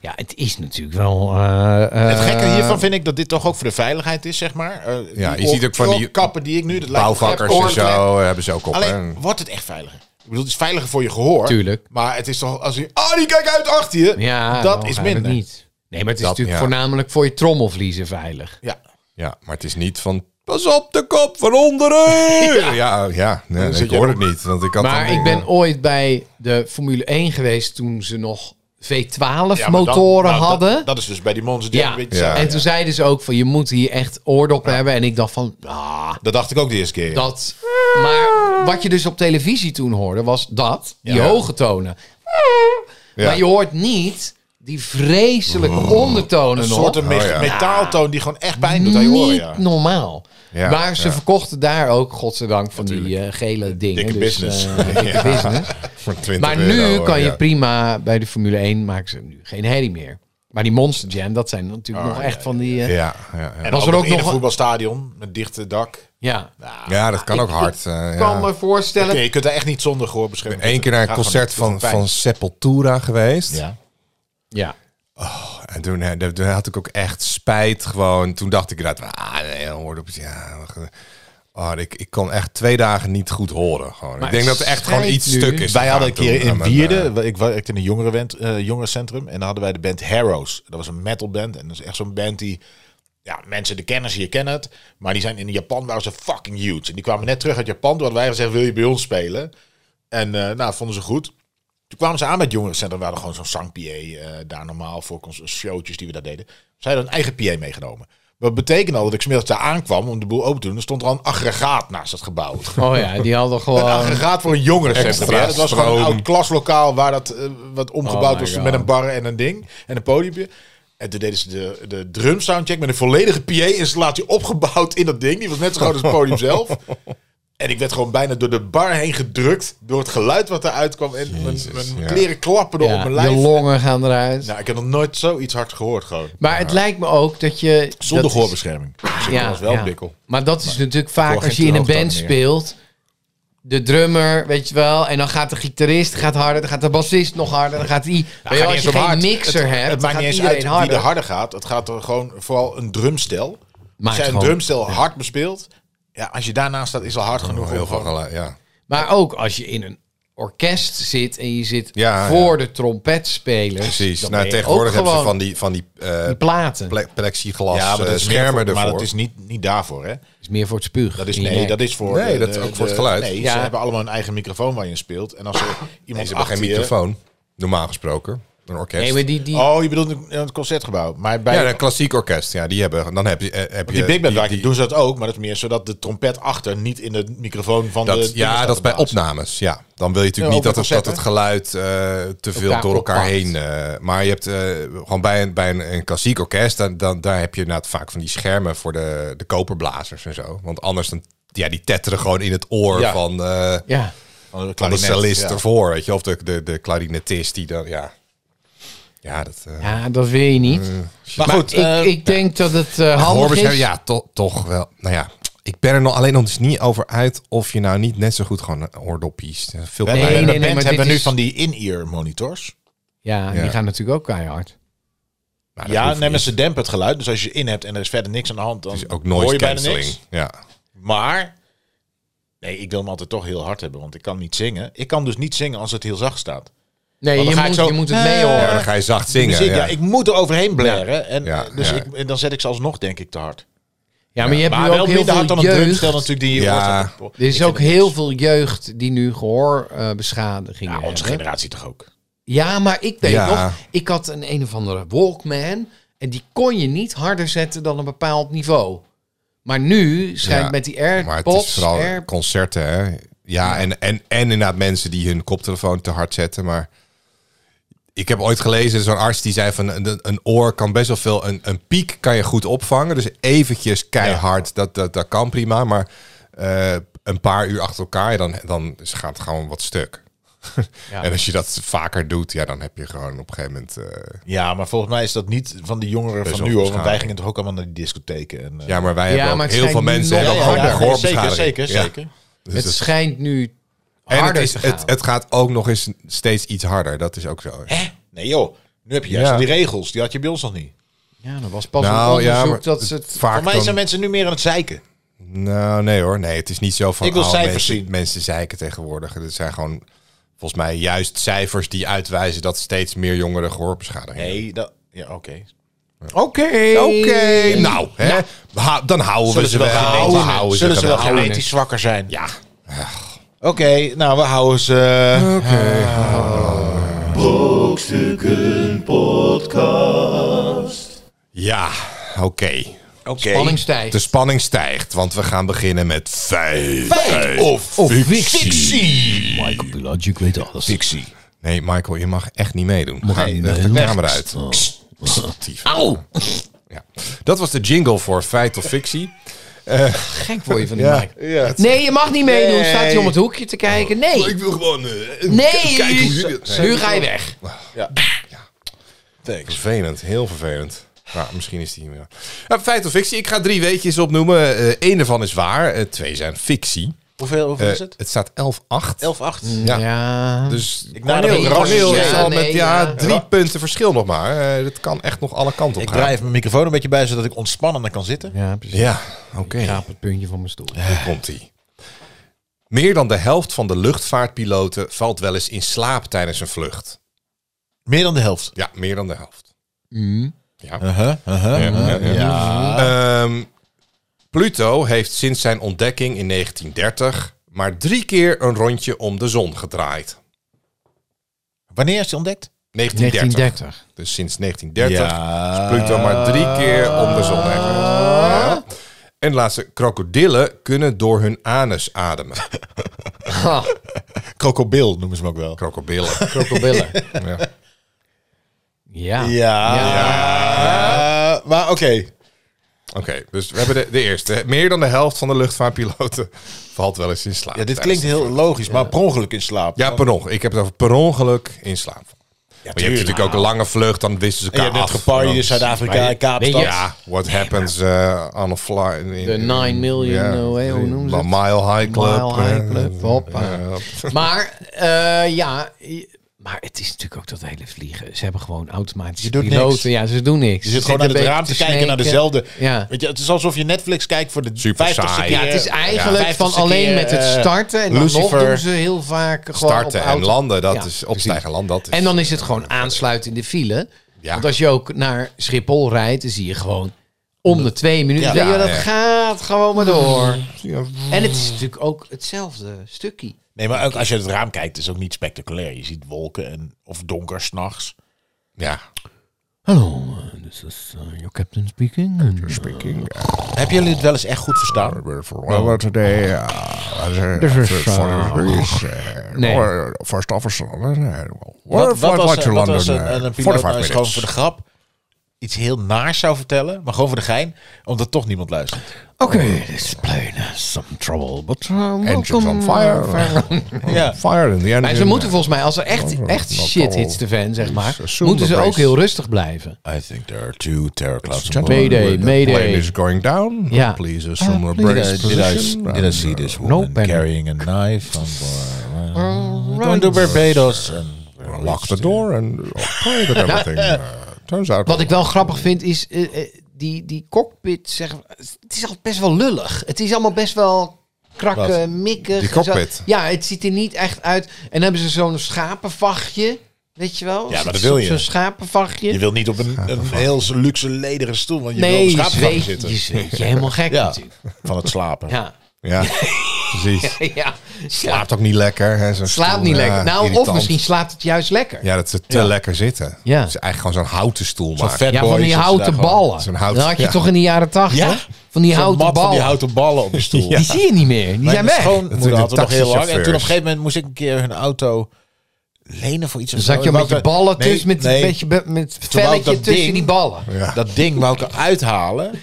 Speaker 3: Ja, het is natuurlijk wel. eh, eh,
Speaker 4: het gekke hiervan vind ik dat dit toch ook voor de veiligheid is, zeg maar. Eh,
Speaker 2: Ja,
Speaker 4: die
Speaker 2: je
Speaker 4: oor-
Speaker 2: ziet ook van die
Speaker 4: oorkappen die ik nu... Dat lijkt me
Speaker 2: Bouwvakkers
Speaker 4: echt
Speaker 2: en zo eh, hebben ze ook op.
Speaker 4: Alleen,
Speaker 2: hè.
Speaker 4: wordt het echt veiliger? Ik bedoel, het is veiliger voor je gehoor.
Speaker 3: Tuurlijk.
Speaker 4: Maar het is toch als je... Ah, die kijk uit achter je.
Speaker 3: Ja,
Speaker 4: dat
Speaker 3: nou,
Speaker 4: is
Speaker 3: eigenlijk
Speaker 4: minder.
Speaker 3: Niet. Nee, maar het is
Speaker 2: Dat-
Speaker 3: natuurlijk
Speaker 2: ja.
Speaker 3: voornamelijk voor je trommelvliezen veilig.
Speaker 4: Ja.
Speaker 2: Ja, maar het is niet van... Pas op de kop van
Speaker 3: (laughs)
Speaker 2: onderen! ja, ja, nee,
Speaker 4: zit
Speaker 2: ik
Speaker 4: je
Speaker 2: hoor
Speaker 4: ook.
Speaker 2: het niet. Want ik had
Speaker 3: Maar
Speaker 2: dan-
Speaker 3: ik ben ooit bij de Formule 1 geweest toen ze nog V12
Speaker 4: Ja, maar dan-
Speaker 3: motoren
Speaker 4: nou, dat-
Speaker 3: hadden.
Speaker 4: Dat, is dus bij die Monster Jam
Speaker 3: ja.
Speaker 4: een beetje
Speaker 2: Ja.
Speaker 4: saai.
Speaker 3: en toen zeiden ze ook van je moet hier echt oordoppen hebben. En ik dacht van, ah,
Speaker 4: Dat dacht ik ook de eerste keer.
Speaker 3: dat. Maar wat je dus op televisie toen hoorde was dat, die hoge tonen.
Speaker 2: Ja. Mm.
Speaker 3: Maar je hoort niet die vreselijke ondertonen
Speaker 4: Een
Speaker 3: nog.
Speaker 4: soort een me-
Speaker 2: Oh, ja.
Speaker 4: metaaltoon die gewoon echt pijn doet aan je oren.
Speaker 3: niet
Speaker 4: Ja.
Speaker 3: normaal.
Speaker 2: Ja,
Speaker 3: maar ze
Speaker 2: ja.
Speaker 3: verkochten daar ook, godzijdank, van die eh, gele dingen.
Speaker 4: Dikke
Speaker 3: dus,
Speaker 4: business.
Speaker 2: (laughs)
Speaker 3: eh, dikke business.
Speaker 2: Voor 20
Speaker 3: Maar nu
Speaker 2: euro,
Speaker 3: kan je
Speaker 2: ja.
Speaker 3: prima bij de Formule 1 maken ze nu geen herrie meer. Maar die Monster Jam, dat zijn natuurlijk nog echt van die. eh, ja.
Speaker 2: Oh, Ja, ja, ja.
Speaker 4: En
Speaker 3: Was
Speaker 4: was
Speaker 3: er
Speaker 4: er
Speaker 3: ook
Speaker 4: ook in
Speaker 3: nog
Speaker 4: een
Speaker 3: een-
Speaker 4: voetbalstadion met dichte dak.
Speaker 2: ja, dat kan ook hard. eh, ja.
Speaker 3: Ik kan me voorstellen.
Speaker 4: Nee, je kunt er echt niet zonder gehoor beschermen.
Speaker 2: Eén keer naar een concert van, van Sepultura geweest.
Speaker 4: Ja.
Speaker 3: Ja.
Speaker 2: En toen, hè, dat- toen had ik ook echt spijt gewoon. Toen dacht ik inderdaad, ah nee, dan hoorde op ja. wacht. Oh, ik, ik kon echt twee dagen niet goed horen. Gewoon.
Speaker 3: Maar
Speaker 2: ik denk dat er echt gewoon
Speaker 3: schijt
Speaker 2: iets
Speaker 3: nu.
Speaker 2: stuk is.
Speaker 4: Wij hadden een
Speaker 2: gegaan
Speaker 4: keer
Speaker 2: toen
Speaker 4: in
Speaker 2: aan mijn, eh,
Speaker 4: Wierden, ik werkte in een jongerenwend- eh, jongerencentrum, en dan hadden wij de band Harrows. Dat was een metalband en dat is echt zo'n band die, ja, mensen, de kenners hier kennen het, maar die zijn in Japan, waren ze fucking huge. En die kwamen net terug uit Japan, toen hadden wij gezegd, wil je bij ons spelen? En eh, nou, vonden ze goed. Toen kwamen ze aan met jongerencentrum, we hadden gewoon zo'n zang PA eh, daar normaal voor cons- showtjes die we daar deden. Ze hadden een eigen PA meegenomen. Wat betekende al dat ik smiddags daar aankwam om de boel open te doen, er stond er al een aggregaat naast het gebouw.
Speaker 3: Oh ja, die
Speaker 2: (laughs)
Speaker 3: hadden
Speaker 4: Een
Speaker 3: gewoon.
Speaker 4: aggregaat voor een jongerencentrum.
Speaker 2: Extra
Speaker 4: ja. Dat was gewoon een
Speaker 2: stroom.
Speaker 4: oud klaslokaal waar dat eh, wat omgebouwd
Speaker 3: Oh my
Speaker 4: was
Speaker 3: God.
Speaker 4: met een bar en een ding en een podiumpje. En toen deden ze de, de drum soundcheck met een volledige PA-installatie opgebouwd in dat ding. Die was net zo groot als het podium zelf. En ik werd gewoon bijna door de bar heen gedrukt door het geluid wat eruit kwam. En mijn-
Speaker 2: Jezus,
Speaker 4: mijn,
Speaker 2: ja.
Speaker 4: kleren klapperden
Speaker 3: Ja,
Speaker 4: op mijn lijf.
Speaker 3: je longen gaan eruit.
Speaker 4: Nou, ik heb nog nooit zoiets hard gehoord gewoon.
Speaker 3: maar het lijkt me ook dat je.
Speaker 4: Zonder
Speaker 3: dat is-
Speaker 4: gehoorbescherming. Dus ik was wel een dikkel.
Speaker 3: Maar dat is natuurlijk vaak
Speaker 4: hoor
Speaker 3: als je
Speaker 4: geen
Speaker 3: in een
Speaker 4: droogte
Speaker 3: band
Speaker 4: meer.
Speaker 3: speelt. De drummer, weet je wel. En dan gaat de gitarist gaat harder. Dan gaat de bassist nog harder. Dan gaat die. weet je,
Speaker 4: Nou, gaat
Speaker 3: wel, als
Speaker 4: niet
Speaker 3: je
Speaker 4: eens om
Speaker 3: geen
Speaker 4: hard.
Speaker 3: mixer hebt,
Speaker 4: Het
Speaker 3: dan
Speaker 4: maakt niet
Speaker 3: gaat
Speaker 4: eens uit
Speaker 3: iedereen
Speaker 4: wie
Speaker 3: harder.
Speaker 4: er harder gaat. Het gaat er gewoon vooral een drumstel.
Speaker 3: Maakt
Speaker 4: Als jij een
Speaker 3: gewoon-
Speaker 4: drumstel hard bespeelt, ja, als je daarnaast staat, is al hard genoeg. om
Speaker 2: Oh, eh, heel veel
Speaker 4: gewoon-
Speaker 2: geluid, ja.
Speaker 3: Maar ook als je in een orkest zit en je zit
Speaker 2: Ja,
Speaker 3: voor de trompetspelers.
Speaker 2: Precies.
Speaker 3: dan
Speaker 2: Nou,
Speaker 3: ben je
Speaker 2: tegenwoordig
Speaker 3: ook
Speaker 2: hebben ze
Speaker 3: gewoon
Speaker 2: van die, van die eh,
Speaker 3: die platen. Dat
Speaker 2: ple- plexiglas
Speaker 4: ja, maar dat
Speaker 2: eh,
Speaker 4: is meer voor-
Speaker 2: schermen ervoor.
Speaker 4: Maar dat is niet, niet daarvoor, hè?
Speaker 3: is meer voor het spuug.
Speaker 4: Dat is,
Speaker 3: in je
Speaker 4: nee,
Speaker 3: nek.
Speaker 4: dat is voor.
Speaker 2: Nee,
Speaker 4: de-
Speaker 2: dat is
Speaker 4: de-
Speaker 2: ook voor het
Speaker 4: de-
Speaker 2: geluid.
Speaker 4: Nee,
Speaker 3: Ja. Ah.
Speaker 4: ze hebben allemaal een eigen microfoon waar je in speelt. En als er
Speaker 2: Nee,
Speaker 4: iemand
Speaker 2: ze hebben
Speaker 4: achter
Speaker 2: geen
Speaker 4: je-
Speaker 2: microfoon, normaal gesproken. Een orkest.
Speaker 3: Nee, maar die, die,
Speaker 4: Oh, je bedoelt in in het concertgebouw. Maar bij
Speaker 2: ja, een klassiek orkest. Ja, die hebben, dan heb je, eh, heb je
Speaker 4: die Big Band
Speaker 2: die-
Speaker 4: Bike doen ze dat ook, maar dat is meer zodat de trompet achter niet in de microfoon van
Speaker 2: Dat,
Speaker 4: de.
Speaker 2: ja, dat is bij
Speaker 4: opname.
Speaker 2: opnames. Ja. Dan wil je natuurlijk
Speaker 4: Ja,
Speaker 2: niet
Speaker 4: op
Speaker 2: dat het,
Speaker 4: een
Speaker 2: dat het geluid eh, te veel
Speaker 3: Elkaar
Speaker 2: door elkaar
Speaker 3: oppakt.
Speaker 2: heen. eh, maar je hebt eh, gewoon bij een, bij een, een klassiek orkest, dan, dan, daar heb je inderdaad vaak van die schermen voor de, de koperblazers en zo. Want anders dan, ja, die tetteren gewoon in het oor
Speaker 4: Ja.
Speaker 2: van, eh,
Speaker 3: ja.
Speaker 2: van de cellist
Speaker 4: ja.
Speaker 2: ervoor. Weet je? Of de, de, de klarinetist die dan. Ja, ja dat. eh,
Speaker 3: ja, dat wil je niet.
Speaker 4: Maar
Speaker 3: Maar
Speaker 4: goed,
Speaker 3: ik,
Speaker 4: eh,
Speaker 3: ik denk dat het eh, handig
Speaker 2: gehoorbescherming,
Speaker 3: is.
Speaker 2: ja, to- toch wel. Nou ja, ik ben er nog alleen nog eens niet over uit of je nou niet net zo goed gewoon een oordopjes. eh, Veel
Speaker 4: We hebben-
Speaker 3: Nee,
Speaker 4: bij de
Speaker 3: nee, nee,
Speaker 4: band
Speaker 3: maar
Speaker 4: hebben we
Speaker 3: dit
Speaker 4: nu
Speaker 3: is-
Speaker 4: van die in-ear monitors.
Speaker 3: Ja, die
Speaker 2: Ja.
Speaker 3: gaan natuurlijk ook keihard.
Speaker 2: Maar Ah, dat
Speaker 4: Ja,
Speaker 2: hoeft
Speaker 4: nee, maar
Speaker 2: niet.
Speaker 4: ze dempen het geluid. Dus als je in hebt en er is verder niks aan de hand, dan
Speaker 2: is ook
Speaker 4: hoor
Speaker 2: noise
Speaker 4: je bijna niks.
Speaker 2: cancelling. Ja.
Speaker 4: Maar Nee, ik wil hem altijd toch heel hard hebben, want ik kan niet zingen. Ik kan dus niet zingen als het heel zacht staat.
Speaker 3: Nee,
Speaker 4: Want
Speaker 3: je
Speaker 4: dan ga ik
Speaker 3: moet,
Speaker 4: zo-
Speaker 3: je moet het mee horen.
Speaker 2: Ja, dan ga je zacht zingen.
Speaker 4: Eh, Muziek, ja.
Speaker 2: ja.
Speaker 4: ik moet er overheen blaren. En,
Speaker 2: Ja,
Speaker 4: eh, dus
Speaker 2: ja.
Speaker 4: Ik, en dan zet ik ze alsnog, denk ik, te hard.
Speaker 3: Ja, maar je hebt
Speaker 4: Maar
Speaker 3: nu ook
Speaker 4: wel
Speaker 3: heel
Speaker 4: minder hard
Speaker 3: veel
Speaker 4: dan een
Speaker 3: jeugd.
Speaker 4: drumstel natuurlijk die je
Speaker 2: Ja.
Speaker 4: hoort. Dat-
Speaker 3: Er
Speaker 4: Ik
Speaker 3: is
Speaker 4: vind
Speaker 3: ook
Speaker 4: het-
Speaker 3: heel veel jeugd die nu gehoorbeschadigingen
Speaker 4: Ja, onze
Speaker 3: hebben.
Speaker 4: generatie toch ook.
Speaker 3: Ja, maar ik weet
Speaker 2: Ja.
Speaker 3: nog, ik had een een of andere Walkman. En die kon je niet harder zetten dan een bepaald niveau. Maar nu schijnt
Speaker 2: Ja,
Speaker 3: met die
Speaker 2: Maar het is
Speaker 3: AirPods...
Speaker 2: vooral
Speaker 3: Air-
Speaker 2: concerten, hè? Ja, En, en, en inderdaad mensen die hun koptelefoon te hard zetten. Maar ik heb ooit gelezen, zo'n arts die zei van een, een oor kan best wel veel, een, een piek kan je goed opvangen. Dus eventjes keihard, dat, dat, dat kan prima. Maar eh, een paar uur achter elkaar, ja, dan, dan gaat het gewoon wat stuk. (laughs) en als je dat vaker doet, ja, dan heb je gewoon op een gegeven moment... eh,
Speaker 4: Ja, maar volgens mij is dat niet van de jongeren
Speaker 2: Best
Speaker 4: van
Speaker 2: wel
Speaker 4: nu, hoor, want wij
Speaker 2: waarschijnlijk.
Speaker 4: gingen toch ook allemaal naar die discotheken. En, eh,
Speaker 2: ja, maar wij hebben
Speaker 3: maar
Speaker 2: ook
Speaker 3: het
Speaker 2: heel
Speaker 3: zijn
Speaker 2: veel mensen
Speaker 3: nog
Speaker 2: hebben
Speaker 3: ja,
Speaker 2: gewoon een
Speaker 3: ja, ja,
Speaker 4: nee,
Speaker 2: gehoorbeschadiging.
Speaker 4: zeker, zeker,
Speaker 2: Ja.
Speaker 4: zeker.
Speaker 2: Dus
Speaker 3: het
Speaker 2: dat-
Speaker 3: schijnt nu
Speaker 2: En het,
Speaker 3: harder
Speaker 2: is,
Speaker 3: te gaan.
Speaker 2: het, het gaat ook nog eens steeds iets harder. Dat is ook zo.
Speaker 4: Nee joh, nu heb je juist
Speaker 2: Ja.
Speaker 4: die regels, die had je bij ons nog niet.
Speaker 3: ja, dat was pas een
Speaker 2: Nou
Speaker 3: onderzoek
Speaker 2: ja, maar
Speaker 3: dat ze het...
Speaker 2: vaak
Speaker 4: Voor mij
Speaker 2: dan-
Speaker 4: zijn mensen nu meer aan het zeiken.
Speaker 2: Nou, nee hoor. Nee, het is niet zo van...
Speaker 4: Ik wil
Speaker 2: oh,
Speaker 4: cijfers
Speaker 2: mensen,
Speaker 4: zien.
Speaker 2: Mensen zeiken tegenwoordig. Het zijn gewoon volgens mij juist cijfers die uitwijzen dat steeds meer jongeren gehoorbeschadiging hebben.
Speaker 4: Nee, dat... Ja, oké.
Speaker 3: Oké.
Speaker 2: Oké, nou, hè, ha- dan houden we ze wel.
Speaker 4: genetisch-
Speaker 2: We houden
Speaker 4: zullen ze wel
Speaker 2: gewoon.
Speaker 4: genetisch zwakker zijn?
Speaker 2: Ja.
Speaker 4: Oké, nou we houden ze...
Speaker 1: Brokstukken Podcast.
Speaker 2: Ja, oké.
Speaker 4: Oké.
Speaker 3: Spanning stijgt.
Speaker 2: De spanning stijgt, want we gaan beginnen met vijf.
Speaker 4: Feit of,
Speaker 2: fictie.
Speaker 5: Michael Pelagic, ik weet alles.
Speaker 4: Fictie.
Speaker 2: Nee, Michael, je mag echt niet meedoen. Ga
Speaker 5: Nee,
Speaker 2: leg
Speaker 5: nee,
Speaker 2: de
Speaker 5: nee.
Speaker 2: camera uit.
Speaker 5: Oh.
Speaker 2: Tief. Ja. Dat was de jingle voor feit of fictie.
Speaker 3: Gek word je van die
Speaker 2: Ja.
Speaker 3: mic. Nee, je mag niet meedoen. Staat hij om het hoekje te kijken? Nee.
Speaker 2: Oh, wil gewoon eh,
Speaker 3: Nee.
Speaker 2: het
Speaker 3: Nu ga je weg.
Speaker 4: Thanks.
Speaker 2: Vervelend, heel vervelend. Nou, misschien is die niet meer. Nou, feit of fictie, ik ga drie weetjes opnoemen. Eén ervan is waar, eh, twee zijn fictie.
Speaker 4: Hoeveel, hoeveel
Speaker 2: Eh,
Speaker 4: is het?
Speaker 2: het staat 11-8.
Speaker 4: 11-8.
Speaker 2: Ja.
Speaker 3: Ja.
Speaker 2: Dus
Speaker 4: Ik nader
Speaker 2: Cornel,
Speaker 4: een
Speaker 2: Cornel
Speaker 4: ras.
Speaker 2: is
Speaker 3: Ja,
Speaker 2: al
Speaker 3: nee,
Speaker 2: met ja,
Speaker 3: ja.
Speaker 2: drie punten verschil nog maar. Eh, dat kan echt nog alle kanten op
Speaker 4: Ik
Speaker 2: gaan.
Speaker 4: draai even mijn microfoon een beetje bij, zodat ik ontspannender kan zitten.
Speaker 3: Ja, precies.
Speaker 2: Ja, oké.
Speaker 3: Raap het puntje van mijn stoel.
Speaker 2: Hier komt ie. Meer dan de helft van de luchtvaartpiloten valt wel eens in slaap tijdens een vlucht.
Speaker 4: Meer dan de helft.
Speaker 2: Ja, meer dan de helft.
Speaker 4: Uh-huh, uh-huh,
Speaker 2: Ja,
Speaker 4: uh-huh.
Speaker 2: ja, ja.
Speaker 4: Ja.
Speaker 2: Ehm, Pluto heeft sinds zijn ontdekking in 1930 maar drie keer een rondje om de zon gedraaid.
Speaker 4: Wanneer is die ontdekt?
Speaker 2: 1930.
Speaker 3: 1930.
Speaker 2: Dus sinds 1930
Speaker 4: Ja.
Speaker 2: is Pluto maar drie keer om de zon heen geweest.
Speaker 4: Ah.
Speaker 2: Ja. En de laatste, krokodillen kunnen door hun anus ademen.
Speaker 3: Ha,
Speaker 4: Krokobil noemen ze hem ook wel.
Speaker 2: Krokodillen.
Speaker 4: (laughs)
Speaker 3: krokodillen.
Speaker 2: Ja.
Speaker 3: Ja.
Speaker 4: Ja. Ja. Eh, Maar oké.
Speaker 2: Oké, dus we hebben de, de eerste. Meer dan de helft van de luchtvaartpiloten (laughs) valt wel eens in slaap.
Speaker 4: Ja, dit klinkt heel logisch, maar per ongeluk in slaap.
Speaker 2: Ja, per ongeluk. Ik heb het over per ongeluk in slaap. maar je hebt natuurlijk ook een lange vlucht, dan wisten ze
Speaker 4: En je
Speaker 2: elkaar
Speaker 4: hebt net dus
Speaker 2: af.
Speaker 4: geparty in
Speaker 2: Dan-
Speaker 4: Zuid-Afrika, in Kaapstad.
Speaker 3: Weet je-
Speaker 2: Ja, what happens eh, on a fly. in- in-
Speaker 3: De 9 million,
Speaker 2: Ja,
Speaker 3: eh, hoe
Speaker 2: in-
Speaker 3: noemen ze
Speaker 2: La
Speaker 3: het?
Speaker 2: Mile High Club.
Speaker 3: Mile High
Speaker 2: eh,
Speaker 3: Club, hoppa.
Speaker 4: Oh.
Speaker 2: eh,
Speaker 3: Maar eh, ja, je- maar het is natuurlijk ook dat hele vliegen. Ze hebben gewoon automatische
Speaker 4: Je doet
Speaker 3: piloten.
Speaker 4: niks.
Speaker 3: Ja, ze doen niks.
Speaker 4: Je zit gewoon
Speaker 3: aan
Speaker 4: naar het raam te kijken naar dezelfde.
Speaker 3: Ja.
Speaker 4: Weet je, het is alsof je Netflix kijkt voor de
Speaker 2: Super
Speaker 4: 50ste
Speaker 2: saai.
Speaker 4: keer.
Speaker 3: Ja, het is eigenlijk
Speaker 4: Ja.
Speaker 3: van
Speaker 4: 50ste
Speaker 3: alleen
Speaker 4: keer,
Speaker 3: met het
Speaker 4: eh,
Speaker 3: starten. En dan nog
Speaker 4: Lucifer.
Speaker 3: doen ze heel vaak gewoon op
Speaker 2: starten en
Speaker 3: auto-
Speaker 2: landen, dat
Speaker 3: Ja,
Speaker 2: is
Speaker 3: precies.
Speaker 2: opstijgen land. Dat is,
Speaker 3: En dan is het gewoon aansluiten in de file.
Speaker 2: Ja.
Speaker 3: Want als je ook naar Schiphol rijdt, dan zie je gewoon om de twee minuten.
Speaker 4: Ja.
Speaker 3: Ja, dat
Speaker 2: Ja.
Speaker 3: gaat gewoon maar door.
Speaker 2: Ja.
Speaker 3: En het is natuurlijk ook hetzelfde stukje.
Speaker 4: Nee, maar ook als je uit het raam kijkt, is het ook niet spectaculair. Je ziet wolken en, of donker s'nachts.
Speaker 2: Ja.
Speaker 5: Hallo, eh, this is your captain speaking.
Speaker 2: uh,
Speaker 4: Hebben jullie het wel eens echt goed verstaan?
Speaker 2: Well, today, uh, this is
Speaker 3: uh, nee.
Speaker 2: uh, first officer. uh,
Speaker 4: Wat, wat was, eh, wat was een, een, een piloot nou eens gewoon voor de grap iets heel naars zou vertellen, maar gewoon voor de gein, omdat toch niemand luistert?
Speaker 5: Okay, this plane has some trouble,
Speaker 3: eh,
Speaker 5: but uh,
Speaker 2: Engines on
Speaker 5: welcome.
Speaker 2: fire.
Speaker 4: Ja.
Speaker 2: Oh, Fire in the engine.
Speaker 3: Maar ze moeten volgens mij, als er echt, echt
Speaker 2: dat
Speaker 3: shit
Speaker 2: al
Speaker 3: hits de fan, zeg maar,
Speaker 2: assume
Speaker 3: moeten
Speaker 2: the
Speaker 3: ze ook
Speaker 2: brace.
Speaker 3: heel rustig blijven.
Speaker 4: I think there are two terror clouds.
Speaker 3: Mayday,
Speaker 2: The plane
Speaker 3: mayday.
Speaker 2: is going down.
Speaker 3: Ja. Ah,
Speaker 2: Please assume a
Speaker 4: Did
Speaker 2: brace
Speaker 4: I, did, I,
Speaker 2: position.
Speaker 4: did I see this woman
Speaker 3: panic.
Speaker 4: carrying a knife on board? Uh, Going to Barbados. And
Speaker 2: Lock the door and pray
Speaker 3: (laughs)
Speaker 2: that everything uh, turns out.
Speaker 3: Wat ik wel grappig vind is, eh, eh, die, die cockpit, zeg, het is altijd best wel lullig. Het is allemaal best wel krakken,
Speaker 4: Wat?
Speaker 3: mikken.
Speaker 2: Die cockpit?
Speaker 3: Ja, het ziet er niet echt uit. En dan hebben ze zo'n schapenvachtje. Weet je wel?
Speaker 4: maar dat
Speaker 3: Zo'n-
Speaker 4: wil je.
Speaker 3: Zo'n schapenvachtje.
Speaker 4: Je wil niet op een, een heel luxe lederen stoel, want je
Speaker 3: nee,
Speaker 4: wil
Speaker 3: je
Speaker 4: op schaapgang
Speaker 3: zweet,
Speaker 4: zitten.
Speaker 3: je zweet je helemaal
Speaker 4: (laughs)
Speaker 3: gek
Speaker 4: Ja,
Speaker 3: natuurlijk.
Speaker 4: van het slapen.
Speaker 3: Ja. (laughs)
Speaker 2: Ja, precies.
Speaker 3: ja. Slaapt,
Speaker 2: Slaapt ook niet lekker. Hè, zo'n
Speaker 3: slaapt
Speaker 2: stoel.
Speaker 3: niet
Speaker 2: Ja,
Speaker 4: eh,
Speaker 3: lekker. Nou, of
Speaker 2: irritant.
Speaker 3: misschien slaapt het juist lekker.
Speaker 2: Ja, dat ze te lekker zitten.
Speaker 3: Ja.
Speaker 2: Dus eigenlijk gewoon zo'n houten stoel
Speaker 4: Zo'n
Speaker 2: maken.
Speaker 4: fatboy
Speaker 3: Ja, van die
Speaker 4: zit ze daar
Speaker 3: houten
Speaker 4: gewoon.
Speaker 3: ballen.
Speaker 2: Zo'n hout-
Speaker 3: dat had je
Speaker 2: ja.
Speaker 3: toch in de jaren tachtig?
Speaker 4: Ja.
Speaker 3: Van die
Speaker 4: Zo'n
Speaker 3: houten
Speaker 4: mat
Speaker 3: ballen.
Speaker 4: van die houten ballen op de
Speaker 3: (laughs)
Speaker 4: stoel.
Speaker 3: Die zie je niet meer. Die zijn
Speaker 4: Mijn
Speaker 2: Dat
Speaker 3: weg.
Speaker 4: schoonmoeder had
Speaker 2: doen
Speaker 4: het nog heel lang. En toen op een
Speaker 2: taxichauffeurs.
Speaker 4: gegeven moment moest ik een keer hun auto lenen voor iets. of
Speaker 3: Dan
Speaker 4: zo.
Speaker 3: zat je
Speaker 4: En wou
Speaker 3: met je
Speaker 4: ik dat-
Speaker 3: ballen
Speaker 4: Oh, Nee,
Speaker 3: tussen, met
Speaker 4: nee.
Speaker 3: een beetje be- met het
Speaker 4: Terwijl
Speaker 3: velletje
Speaker 4: dat
Speaker 3: tussen
Speaker 4: ding-
Speaker 3: die ballen.
Speaker 2: Ja.
Speaker 4: Dat ding wou ik eruit halen.
Speaker 3: (laughs)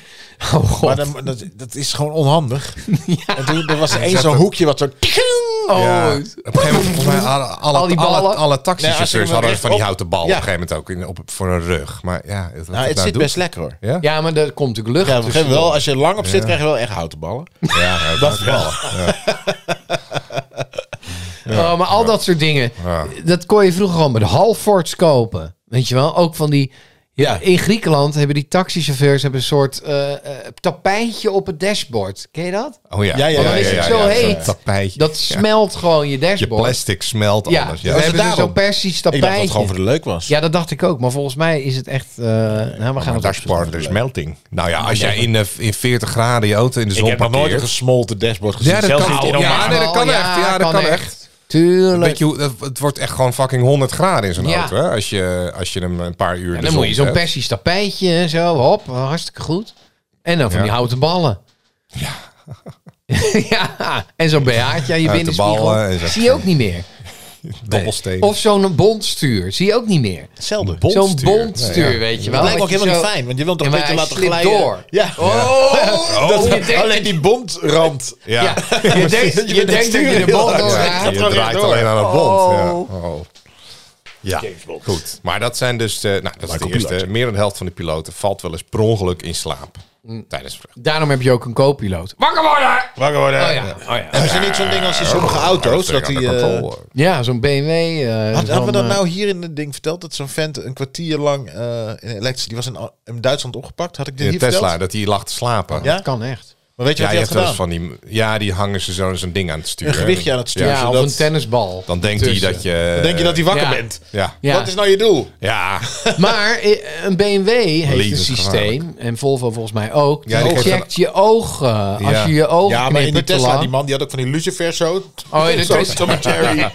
Speaker 3: Oh god.
Speaker 4: Maar dan, dat, dat is gewoon onhandig.
Speaker 3: (laughs)
Speaker 4: En toen er was er één zo'n hoekje wat
Speaker 2: Nou,
Speaker 4: zo...
Speaker 3: Oh,
Speaker 2: Ja. Op een gegeven moment, volgens mij, alle, alle,
Speaker 3: Al die
Speaker 2: alle,
Speaker 3: ballen.
Speaker 2: alle
Speaker 4: Nee, als je
Speaker 2: taxichauffeurs
Speaker 4: hem
Speaker 2: hadden
Speaker 4: recht
Speaker 2: van die
Speaker 4: op-
Speaker 2: houten bal
Speaker 4: Ja.
Speaker 2: op een gegeven moment ook in, op, voor een rug. Maar ja, wat
Speaker 4: Nou,
Speaker 2: het
Speaker 4: het zit
Speaker 2: doet.
Speaker 4: best lekker hoor.
Speaker 2: Ja?
Speaker 3: Ja, maar er komt natuurlijk lucht
Speaker 4: Ja, op een gegeven moment wel,
Speaker 3: tussendoor.
Speaker 4: als je lang op zit, krijg je wel echt houten ballen.
Speaker 2: Ja, dat is wel. Ja.
Speaker 3: Oh, maar al dat soort dingen.
Speaker 2: Ja.
Speaker 3: Dat kon je vroeger gewoon bij de Halfords kopen. Weet je wel? Ook van die...
Speaker 4: Ja.
Speaker 3: In Griekenland hebben die taxichauffeurs hebben een soort eh, eh, tapijtje op het dashboard. Ken je dat?
Speaker 2: Oh ja.
Speaker 4: Ja, ja,
Speaker 2: Oh,
Speaker 4: ja,
Speaker 2: dan is
Speaker 4: ja,
Speaker 2: het
Speaker 4: ja, ja.
Speaker 2: zo'n
Speaker 3: Ja.
Speaker 2: Tapijtje.
Speaker 3: Dat smelt gewoon je
Speaker 2: Je
Speaker 3: dashboard.
Speaker 2: plastic smelt
Speaker 3: ja,
Speaker 2: alles.
Speaker 3: we
Speaker 2: Ja.
Speaker 4: is het
Speaker 3: hebben dus
Speaker 4: daarom?
Speaker 3: zo'n persisch
Speaker 4: Ik dacht dat het
Speaker 3: tapijtje.
Speaker 4: gewoon voor de leuk was.
Speaker 3: Ja, dat dacht ik ook. Maar volgens mij is het echt... eh, nou, we gaan
Speaker 2: Maar
Speaker 3: het
Speaker 2: dashboard is melting. Nou ja, als jij in, eh, in 40 graden je auto in de
Speaker 4: Ik
Speaker 2: zon
Speaker 4: heb nog nooit een
Speaker 2: parkeert.
Speaker 4: gesmolten dashboard gezien.
Speaker 2: Ja, dat
Speaker 4: Zelfs
Speaker 2: kan
Speaker 4: niet in
Speaker 2: ook.
Speaker 4: Oman.
Speaker 2: Ja,
Speaker 3: Oh,
Speaker 2: nee, dat kan echt. Ja, dat kan echt.
Speaker 3: Tuurlijk.
Speaker 2: Weet je hoe, dat- het wordt echt gewoon fucking 100 graden in zo'n
Speaker 3: Ja.
Speaker 2: auto. Hè? Als, je, als je hem een paar uur. dus
Speaker 3: En dan moet je zo'n persisch tapijtje en zo. Hop, hartstikke goed. En dan van
Speaker 2: Ja.
Speaker 3: die houten ballen. Ja. (laughs) ja. En zo'n BH'tje aan je
Speaker 2: Houten ballen en
Speaker 3: binnenspiegel.
Speaker 2: zo.
Speaker 3: Zie je ook niet meer.
Speaker 2: dobbelsteen.
Speaker 3: Of zo'n bontstuur. Zie je ook niet meer.
Speaker 4: Hetzelfde.
Speaker 3: Zo'n
Speaker 2: Bontstuur.
Speaker 3: bontstuur,
Speaker 2: Ja, ja.
Speaker 3: weet je wel.
Speaker 4: Dat lijkt me ook
Speaker 3: Wat je
Speaker 4: helemaal
Speaker 3: zo-
Speaker 4: niet fijn, want je wilt hem
Speaker 3: Ja,
Speaker 4: toch
Speaker 3: maar
Speaker 4: beter
Speaker 3: hij
Speaker 4: laten
Speaker 3: slipt
Speaker 4: glijden.
Speaker 3: door.
Speaker 4: Ja.
Speaker 3: Oh,
Speaker 4: Dat-
Speaker 3: je denkt-
Speaker 4: alleen die bondrand.
Speaker 2: (laughs) ja.
Speaker 3: Ja, je denkt dat je, denkt dat je de bond
Speaker 4: Ja,
Speaker 3: doorgaat.
Speaker 4: gaat
Speaker 2: je
Speaker 4: gewoon
Speaker 2: draait
Speaker 4: weer door.
Speaker 2: alleen aan het bond. Ja.
Speaker 3: Oh.
Speaker 2: Oh. Ja, goed. Maar dat zijn dus, eh, nou, dat is de
Speaker 4: Michael
Speaker 2: eerste.
Speaker 4: Pilat.
Speaker 2: Meer dan de helft van de piloten valt wel eens per ongeluk in slaap.
Speaker 3: Mm.
Speaker 2: Tijdens vlucht.
Speaker 3: Daarom heb je ook een co-piloot. Wakker worden!
Speaker 2: Wakker worden.
Speaker 3: Oh ja, oh ja.
Speaker 4: Hebben ze niet zo'n ding als in sommige auto's? Dat die, eh,
Speaker 3: Ja, zo'n BMW. eh,
Speaker 4: had- hadden
Speaker 3: zo'n,
Speaker 4: we dat
Speaker 3: eh,
Speaker 4: nou hier in het ding verteld? Dat zo'n vent een kwartier lang eh in elektrisch... Die was in, in Duitsland opgepakt. Had ik dit
Speaker 2: in de
Speaker 4: hier
Speaker 2: Tesla,
Speaker 4: verteld?
Speaker 2: dat hij lag te slapen.
Speaker 4: Ja?
Speaker 3: Kan echt.
Speaker 4: Maar weet je
Speaker 2: Ja,
Speaker 4: wat
Speaker 2: je
Speaker 4: hij
Speaker 2: hebt
Speaker 4: had
Speaker 2: wel eens
Speaker 4: gedaan?
Speaker 2: van die, ja, die hangen ze zo- zo'n ding aan het sturen.
Speaker 4: Een gewichtje aan het sturen.
Speaker 3: Ja,
Speaker 4: Ja,
Speaker 3: of
Speaker 4: zodat-
Speaker 3: een tennisbal.
Speaker 2: Dan denkt hij
Speaker 3: Tussen.
Speaker 2: dat je...
Speaker 4: Denk je dat hij wakker
Speaker 3: Ja.
Speaker 4: bent?
Speaker 2: eh, Ja.
Speaker 3: Ja.
Speaker 4: Wat is nou je doel?
Speaker 2: Ja.
Speaker 3: Maar eh, een BMW heeft een systeem,
Speaker 2: Levensgevaarlijk.
Speaker 3: en Volvo volgens mij ook, die
Speaker 2: Ja, die geeft
Speaker 3: checkt je ogen. Als je je ogen
Speaker 4: Ja, maar in die
Speaker 3: knippert te
Speaker 4: Tesla,
Speaker 3: lang-
Speaker 4: die man, die had ook van die lucifers zo. (laughs)
Speaker 3: Oh, ja, dat
Speaker 4: Zo,
Speaker 3: is-
Speaker 4: zo met Jerry.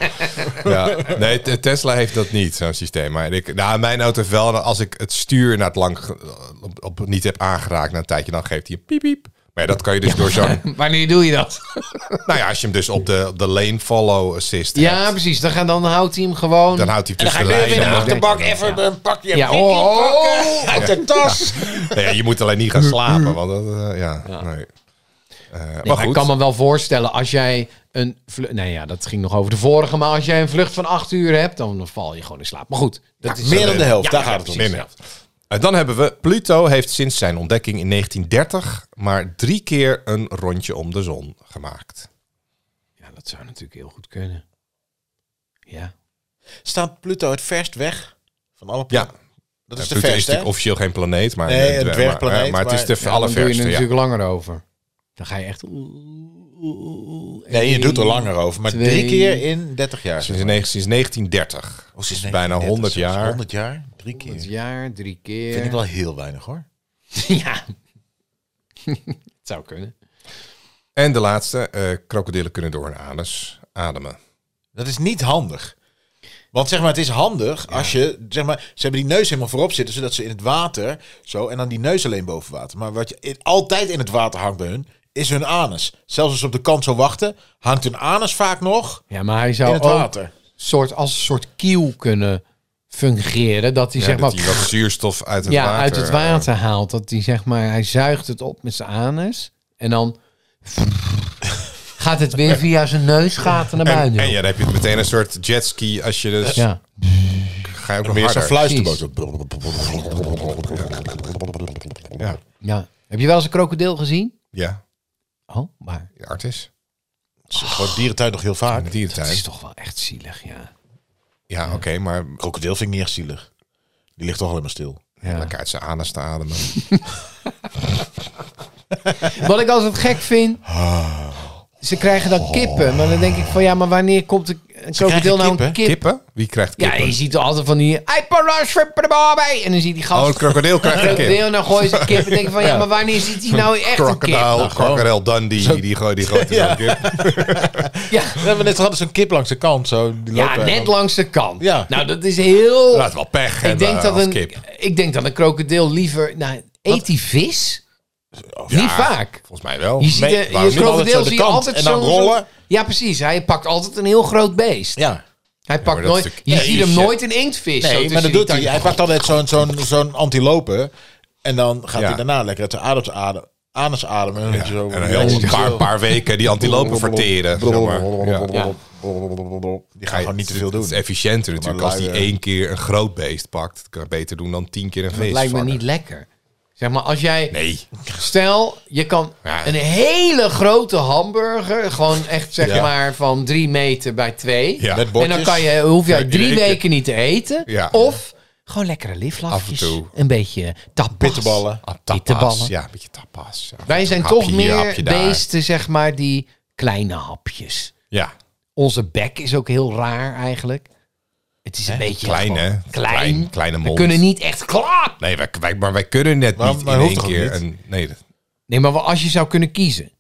Speaker 2: Ja, nee, T- Tesla heeft dat niet, zo'n systeem. Maar ik, nou, mijn auto heeft wel, als ik het stuur na het lang ge- op, op, niet heb aangeraakt na een tijdje, dan geeft hij een piep piep. Maar ja, dat kan je dus door zo'n...
Speaker 3: Wanneer doe je dat?
Speaker 2: Nou ja, als je hem dus op de, op de lane follow assist
Speaker 3: Ja,
Speaker 2: hebt,
Speaker 3: precies. Dan, gaan, dan houdt hij hem gewoon...
Speaker 2: dan houdt hij hem
Speaker 4: Ga
Speaker 2: tussen
Speaker 4: je
Speaker 2: de
Speaker 4: weer in de
Speaker 2: lijnen.
Speaker 4: achterbak even een pakje
Speaker 3: Ja,
Speaker 4: ja,
Speaker 3: oh,
Speaker 4: pakken uit de tas.
Speaker 2: Nou ja, je moet alleen niet gaan slapen, want dat... eh, ja, nee. Eh, maar
Speaker 3: maar ik
Speaker 2: goed.
Speaker 3: kan me wel voorstellen, als jij een... vlu- Nee, ja, dat ging nog over de vorige, maar als jij een vlucht van acht uur hebt, dan val je gewoon in slaap. Maar goed, dat is...
Speaker 4: Meer dan de helft, daar
Speaker 2: ja,
Speaker 4: gaat het om.
Speaker 2: precies, ja. En Eh, dan hebben we... Pluto heeft sinds zijn ontdekking in 1930 maar drie keer een rondje om de zon gemaakt.
Speaker 3: Ja, dat zou natuurlijk heel goed kunnen. Ja.
Speaker 4: Staat Pluto het verst weg van alle
Speaker 2: Ja,
Speaker 4: Dat is
Speaker 2: Ja,
Speaker 4: de
Speaker 2: Pluto
Speaker 4: verst,
Speaker 2: Nou, is natuurlijk
Speaker 4: hè?
Speaker 2: officieel geen planeet, maar eh,
Speaker 4: Nee, een
Speaker 2: maar-
Speaker 4: dwergplaneet,
Speaker 2: Maar, maar het is
Speaker 4: maar-
Speaker 2: de
Speaker 3: Ja, dan doe je
Speaker 2: allerverste.
Speaker 3: er
Speaker 2: Ja.
Speaker 3: natuurlijk langer over. Dan ga je echt... Nee,
Speaker 4: Nee, je doet er langer over. Maar
Speaker 3: twee-
Speaker 4: drie keer in 30 jaar.
Speaker 2: Sinds, negen- sinds 1930.
Speaker 4: Oh, sinds
Speaker 2: Dus bijna
Speaker 4: 1930,
Speaker 2: 100
Speaker 4: sinds
Speaker 2: jaar.
Speaker 4: 100 jaar, drie keer.
Speaker 3: Het jaar, drie keer.
Speaker 4: Vind ik wel (laughs) heel weinig, hoor.
Speaker 3: ja. het zou kunnen.
Speaker 2: En de laatste, eh, krokodillen kunnen door hun anus ademen.
Speaker 4: Dat is niet handig. Want zeg maar, het is handig als je, zeg maar, ze hebben die neus helemaal voorop zitten, zodat ze in het water, zo, en dan die neus alleen boven water. Maar wat je in- altijd in het water hangt bij hun, is hun anus. Zelfs als ze op de kant zo wachten, hangt hun anus vaak nog
Speaker 3: Ja, maar hij
Speaker 4: in
Speaker 3: zou
Speaker 4: het
Speaker 3: Nou, ook
Speaker 4: water.
Speaker 3: soort, als een soort kiel kunnen fungeren. Dat hij
Speaker 2: Ja,
Speaker 3: zeg maar
Speaker 2: dat die wat zuurstof uit het
Speaker 3: ja,
Speaker 2: water...
Speaker 3: uit het
Speaker 2: eh,
Speaker 3: water haalt. Dat hij zeg maar, hij zuigt het op met zijn anus. En dan gaat het weer via zijn neusgaten naar
Speaker 2: en,
Speaker 3: buiten.
Speaker 2: en ja, dan heb je het meteen een soort jetski als je dus...
Speaker 3: ja.
Speaker 2: Ga je ook nog
Speaker 4: Weer zo'n
Speaker 2: harder.
Speaker 4: fluisterboot.
Speaker 2: Ja.
Speaker 3: ja. Heb je wel eens een krokodil gezien?
Speaker 2: ja,
Speaker 3: Oh, maar
Speaker 2: de artis.
Speaker 4: Gewoon dierentuin nog heel vaak.
Speaker 2: De
Speaker 3: dat is
Speaker 2: dierentuin.
Speaker 3: toch wel echt zielig, ja.
Speaker 2: Ja, oké, maar...
Speaker 4: Krokodil vind ik niet echt zielig. Die ligt toch alleen maar stil.
Speaker 2: Ja. Lekker uit zijn anus te ademen.
Speaker 3: Wat ik altijd gek vind, Ze krijgen dan kippen. Maar dan denk ik van ja, maar wanneer komt een- een krokodil nou een kip?
Speaker 2: Kippen? Wie krijgt
Speaker 3: Ja,
Speaker 2: kippen?
Speaker 3: je ziet toch altijd van die... "Ei, paras, bij." En dan zie je die
Speaker 2: Oh, een
Speaker 3: gast...
Speaker 2: krokodil krijgt een kip.
Speaker 3: krokodil, dan gooien
Speaker 4: (laughs)
Speaker 3: ze een kip. En denk ik van ja, maar wanneer ziet hij nou echt een kip?
Speaker 2: Crocodile, Crocodile Dundee, die, die, gooit- die gooit er zo'n kip.
Speaker 3: Ja,
Speaker 4: We hebben net hadden zo'n kip langs de kant. Zo, die
Speaker 3: ja
Speaker 4: lopen.
Speaker 3: net langs de kant.
Speaker 4: Ja.
Speaker 3: Nou, dat is heel...
Speaker 2: Dat is wel pech.
Speaker 3: Ik denk, dat
Speaker 2: een
Speaker 3: een,
Speaker 2: kip.
Speaker 3: ik denk dat een krokodil liever... Nou, eet die vis? Niet vaak.
Speaker 2: Volgens mij wel.
Speaker 3: Je ziet
Speaker 2: Nee,
Speaker 3: een-
Speaker 2: waarom
Speaker 3: je
Speaker 2: niet?
Speaker 4: Altijd zo
Speaker 3: krokodil
Speaker 4: de
Speaker 3: zie je
Speaker 4: kant
Speaker 3: altijd
Speaker 4: en dan
Speaker 3: zo'n...
Speaker 4: rollen.
Speaker 3: Ja, precies. Hij pakt altijd een heel groot beest.
Speaker 4: Ja.
Speaker 3: Hij pakt
Speaker 2: maar dat
Speaker 3: nooit...
Speaker 2: is
Speaker 3: Je
Speaker 2: natuurlijk-
Speaker 3: ziet hem nooit een inktvis. zo
Speaker 4: Nee,
Speaker 3: tussen
Speaker 4: maar dat
Speaker 3: die
Speaker 4: doet hij.
Speaker 3: tanden.
Speaker 4: Hij pakt altijd zo'n zo'n zo'n antilope. En dan gaat
Speaker 2: Ja.
Speaker 4: hij daarna lekker uit zijn adem, adem, anus ademen. En dan
Speaker 2: Ja,
Speaker 4: weet je zo,
Speaker 2: en dan heel een paar, paar weken die antilopen verteren. zeg maar. Ja.
Speaker 3: Ja.
Speaker 4: Die gaan gewoon niet te veel
Speaker 2: Het
Speaker 4: doen.
Speaker 2: is efficiënter natuurlijk als die
Speaker 4: lui, eh.
Speaker 2: één keer een groot beest pakt. Dat kan je beter doen dan tien keer een vis.
Speaker 3: Dat lijkt me
Speaker 2: vangen.
Speaker 3: niet lekker. Zeg maar, als jij...
Speaker 2: Nee.
Speaker 3: Stel, je kan
Speaker 2: Ja.
Speaker 3: een hele grote hamburger, gewoon echt zeg
Speaker 2: Ja.
Speaker 3: maar van drie meter bij twee.
Speaker 2: Ja.
Speaker 4: Met
Speaker 3: En
Speaker 4: bordjes.
Speaker 3: dan kan je, hoef jij
Speaker 2: Ja,
Speaker 3: drie
Speaker 2: iedere keer.
Speaker 3: weken niet te eten.
Speaker 2: Ja.
Speaker 3: Of gewoon lekkere liflafjes.
Speaker 2: Af en toe.
Speaker 3: Een beetje tapas.
Speaker 4: Bitterballen.
Speaker 2: Ah,
Speaker 3: Bitterballen.
Speaker 2: tapas. Ja, een beetje tapas. Ja.
Speaker 3: Wij zijn
Speaker 2: Hapje
Speaker 3: toch
Speaker 2: hier,
Speaker 3: meer
Speaker 2: hapje daar.
Speaker 3: beesten, zeg maar, die kleine hapjes.
Speaker 2: Ja,
Speaker 3: Onze bek is ook heel raar eigenlijk. Het is een beetje...
Speaker 2: klein
Speaker 3: gewoon
Speaker 2: hè.
Speaker 3: Klein.
Speaker 2: Klein, kleine
Speaker 3: We
Speaker 2: mond.
Speaker 3: kunnen niet echt klap.
Speaker 2: Nee, wij, wij- maar wij kunnen net
Speaker 4: Waarom-
Speaker 2: niet
Speaker 4: maar
Speaker 2: in
Speaker 4: hoeft
Speaker 2: één
Speaker 4: toch ook
Speaker 2: keer.
Speaker 4: niet?
Speaker 2: Een, nee, dat-
Speaker 3: Nee, maar als je zou kunnen kiezen.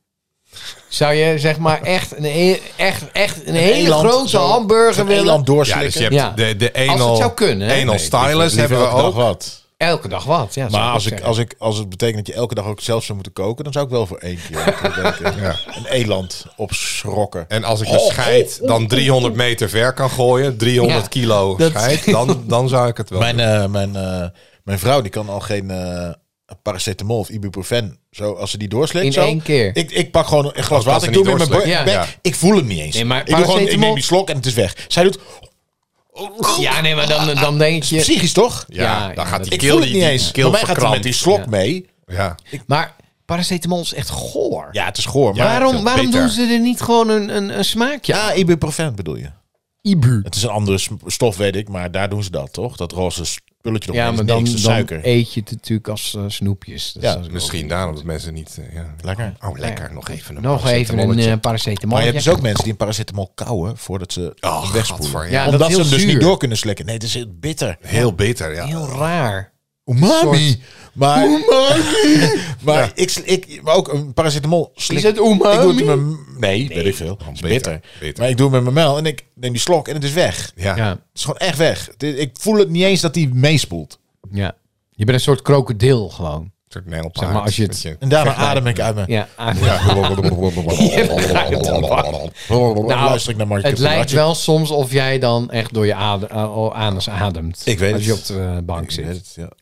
Speaker 3: Zou je
Speaker 4: (laughs)
Speaker 3: zeg maar echt een, he- echt, echt een, hele
Speaker 4: eland,
Speaker 3: grote
Speaker 4: zo-
Speaker 3: hamburger willen?
Speaker 4: Eland
Speaker 2: ja,
Speaker 4: doorslikken.
Speaker 2: dus je hebt
Speaker 3: Ja.
Speaker 2: de, de
Speaker 3: het
Speaker 2: anal,
Speaker 3: zou kunnen, hè?
Speaker 2: anal
Speaker 3: Nee,
Speaker 2: stylus
Speaker 4: Liever
Speaker 2: hebben we
Speaker 4: elke dag
Speaker 2: ook.
Speaker 4: wat.
Speaker 3: Elke dag wat, ja. zou ik
Speaker 4: Maar
Speaker 3: ook
Speaker 4: als, ik,
Speaker 3: zeggen.
Speaker 4: als, ik, als het betekent dat je elke dag ook zelf zou moeten koken, dan zou ik wel voor één keer
Speaker 2: (laughs)
Speaker 4: denken. een eland opschrokken.
Speaker 2: En als ik de scheid dan 300 meter ver kan gooien, 300
Speaker 3: Ja,
Speaker 2: kilo
Speaker 3: dat-
Speaker 2: scheid, dan, dan zou ik het wel
Speaker 4: Mijn,
Speaker 2: doen.
Speaker 4: eh, mijn, eh, mijn vrouw die kan al geen eh, paracetamol of ibuprofen. Zo, als ze die doorslikt.
Speaker 3: In
Speaker 4: zo,
Speaker 3: één keer.
Speaker 4: Ik, ik pak gewoon een glas
Speaker 2: kan
Speaker 4: water.
Speaker 2: ze
Speaker 4: Ik doe
Speaker 2: niet
Speaker 4: hem in mijn be-
Speaker 2: doorslikken.
Speaker 4: bek.
Speaker 2: Ja.
Speaker 4: Ik voel hem niet eens.
Speaker 3: Nee, maar
Speaker 4: ik, doe gewoon, ik
Speaker 3: paracetamol-
Speaker 4: neem die slok en het is weg. Zij doet
Speaker 3: Ja, nee, maar dan, dan denk je...
Speaker 4: psychisch toch?
Speaker 2: Ja,
Speaker 3: ja,
Speaker 2: dan
Speaker 3: ja,
Speaker 2: gaat
Speaker 3: dat-
Speaker 2: die
Speaker 4: Ik
Speaker 2: keel
Speaker 4: voel het
Speaker 2: die,
Speaker 4: niet
Speaker 2: die
Speaker 4: eens.
Speaker 2: keel
Speaker 4: Bij mij gaat hij
Speaker 2: verkrampt.
Speaker 4: met die slok
Speaker 3: Ja.
Speaker 4: mee.
Speaker 2: Ja.
Speaker 3: Maar paracetamol is echt goor.
Speaker 4: Ja, het is goor. Maar
Speaker 2: dat
Speaker 3: waarom
Speaker 2: is
Speaker 3: waarom
Speaker 2: beter.
Speaker 3: doen ze er niet gewoon een, een, een smaakje aan?
Speaker 4: ja, ibuprofen bedoel je.
Speaker 3: Ibu.
Speaker 4: Het is een andere s- stof, weet ik, maar daar doen ze dat toch? Dat roze spulletje erop.
Speaker 3: Ja,
Speaker 4: is
Speaker 3: maar dan,
Speaker 4: niks,
Speaker 3: dan
Speaker 4: is suiker.
Speaker 3: eet je het natuurlijk als eh, snoepjes. Dat
Speaker 4: Ja, dus
Speaker 3: is-
Speaker 2: Dus Misschien daarom dat mensen niet... eh, ja.
Speaker 4: Lekker.
Speaker 2: Oh, lekker. Nog even een
Speaker 3: Nog even een
Speaker 2: paracetamolletje.
Speaker 3: eh, paracetamol.
Speaker 4: Maar je hebt dus ook mensen die een paracetamol kauwen voordat ze
Speaker 2: Oh,
Speaker 4: het eh, wegspoelen.
Speaker 2: gadver,
Speaker 3: ja.
Speaker 2: ja.
Speaker 3: dat
Speaker 4: Omdat
Speaker 3: is
Speaker 4: ze
Speaker 3: heel
Speaker 4: hem dus
Speaker 3: zuur.
Speaker 4: niet door kunnen slikken. Nee, het is heel bitter.
Speaker 2: Heel bitter, ja.
Speaker 3: Heel raar.
Speaker 4: Umami.
Speaker 3: soort-
Speaker 4: Maar, Oh. maar ik, sl- ik, maar ook een paracetamol slik.
Speaker 3: Is het umami?
Speaker 4: Ik doe het in mijn, nee, weet ik veel. Het is
Speaker 2: Bitter,
Speaker 4: bitter.
Speaker 2: bitter.
Speaker 4: Maar ik doe het met mijn mel en ik neem die slok en het is weg.
Speaker 2: Ja.
Speaker 3: Ja,
Speaker 4: Het is gewoon echt weg. Het is- Ik voel het niet eens dat hij meespoelt.
Speaker 3: ja. Je bent een soort krokodil gewoon.
Speaker 2: Een soort nijlpaard.
Speaker 3: Zeg maar, als je het-
Speaker 2: Weet
Speaker 4: En daarna adem ik uit me.
Speaker 3: Ja, aan-
Speaker 4: Nou, luister ik naar Mark
Speaker 3: Het lijkt
Speaker 4: Castellacci.
Speaker 3: wel soms of jij dan echt door je adem, eh, anus ademt.
Speaker 4: Ik weet
Speaker 3: Als
Speaker 4: het.
Speaker 3: je op de eh, bank
Speaker 4: Ik
Speaker 3: zit.
Speaker 4: weet het, ja.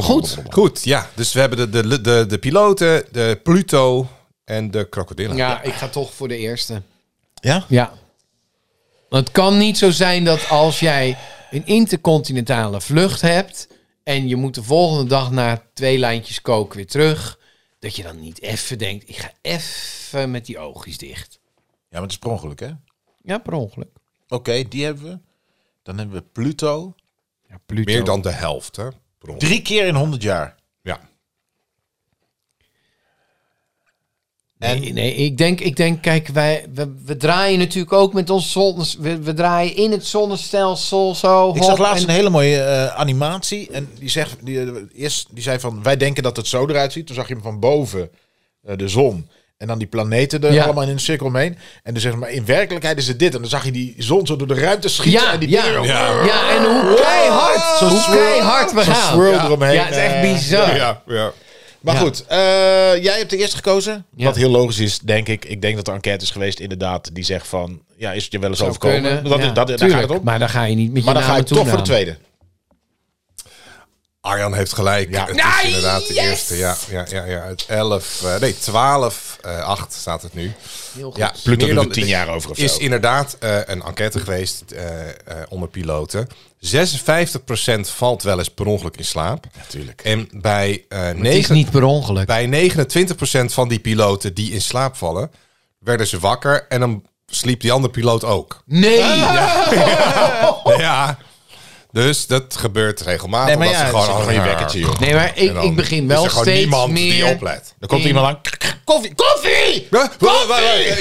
Speaker 3: Goed.
Speaker 2: Goed, ja. Dus we hebben de, de, de, de piloten, de Pluto en de krokodillen.
Speaker 3: Ja, Nou, ik ga toch voor de eerste.
Speaker 4: Ja?
Speaker 3: Ja. Want het kan niet zo zijn dat als jij een intercontinentale vlucht hebt... en je moet de volgende dag na twee lijntjes koken weer terug... dat je dan niet even denkt, ik ga even met die oogjes dicht.
Speaker 4: Ja, maar het is per ongeluk, hè? Oké,
Speaker 3: Ja, per ongeluk.
Speaker 4: die hebben we. Dan hebben we Pluto.
Speaker 3: Ja, Pluto.
Speaker 2: Meer dan de helft, hè? per ongeluk.
Speaker 4: Drie keer in 100 jaar.
Speaker 2: Ja.
Speaker 3: Nee, nee, ik denk, ik denk kijk, wij, we, we draaien natuurlijk ook met ons zon... We, we draaien in het zonnestelsel zo.
Speaker 4: Ik zag
Speaker 3: hop,
Speaker 4: laatst
Speaker 3: en-
Speaker 4: een hele mooie eh, animatie. En die, zegt, die, eh, eerst, die zei van, wij denken dat het zo eruit ziet. Toen zag je hem van boven, eh, de zon. En dan die planeten er
Speaker 3: Ja.
Speaker 4: allemaal in een cirkel omheen. En dan zeggen maar in werkelijkheid is het dit. En dan zag je die zon zo door de ruimte schieten.
Speaker 3: Ja,
Speaker 4: en die Oh,
Speaker 3: ja.
Speaker 4: dingen-
Speaker 2: Ja.
Speaker 3: Ja, en hoe keihard,
Speaker 4: Zo'n
Speaker 3: hoe
Speaker 4: swirl-
Speaker 3: keihard we
Speaker 4: zo'n
Speaker 3: gaan.
Speaker 4: swirl
Speaker 3: ja.
Speaker 4: eromheen.
Speaker 3: Ja, het is echt
Speaker 4: Eh,
Speaker 3: bizar.
Speaker 2: Ja, ja.
Speaker 4: Maar
Speaker 3: Ja.
Speaker 4: goed, eh, jij hebt de eerste gekozen.
Speaker 3: Ja.
Speaker 4: Wat heel logisch is, denk ik. Ik denk dat er enquête is geweest, inderdaad, die zegt van... Ja, is het je wel eens
Speaker 3: Zou
Speaker 4: overkomen?
Speaker 3: kunnen,
Speaker 4: Dat,
Speaker 3: ja,
Speaker 4: dat, daar gaat
Speaker 3: tuurlijk.
Speaker 4: het om. Maar,
Speaker 3: Maar dan ga je niet met je
Speaker 4: dan ga
Speaker 3: naam
Speaker 4: ik
Speaker 3: en
Speaker 4: toch voor de
Speaker 3: toenaam.
Speaker 4: tweede.
Speaker 2: Arjan heeft gelijk.
Speaker 4: Ja.
Speaker 2: Het is inderdaad de eerste. Ja, ja, ja, ja. Het 11, eh, nee, 12, eh 8 staat het nu.
Speaker 3: Heel goed.
Speaker 2: Ja,
Speaker 4: Pluto
Speaker 2: meer
Speaker 4: doet
Speaker 2: dan-
Speaker 4: er 10 jaar over of zo.
Speaker 2: is inderdaad eh, een enquête geweest eh, eh, onder piloten. 56% valt wel eens per ongeluk in slaap.
Speaker 4: Natuurlijk.
Speaker 2: En bij, eh
Speaker 3: Het is
Speaker 2: negen-
Speaker 3: niet per ongeluk.
Speaker 2: bij 29% van die piloten die in slaap vallen, werden ze wakker en dan sliep die andere piloot ook.
Speaker 3: Nee!
Speaker 2: Ja, dus dat gebeurt regelmatig.
Speaker 4: Oh. Nee, maar
Speaker 2: omdat ze
Speaker 4: ja, het is
Speaker 2: gewoon,
Speaker 4: gewoon je wekkertje, joh.
Speaker 3: Nee, maar
Speaker 2: En
Speaker 3: ik,
Speaker 2: dan
Speaker 3: ik begin
Speaker 2: is
Speaker 3: wel
Speaker 2: er gewoon
Speaker 3: steeds
Speaker 2: niemand
Speaker 3: meer...
Speaker 2: die oplet.
Speaker 4: Dan komt
Speaker 3: in-
Speaker 4: iemand aan. koffie, koffie!
Speaker 2: Huh?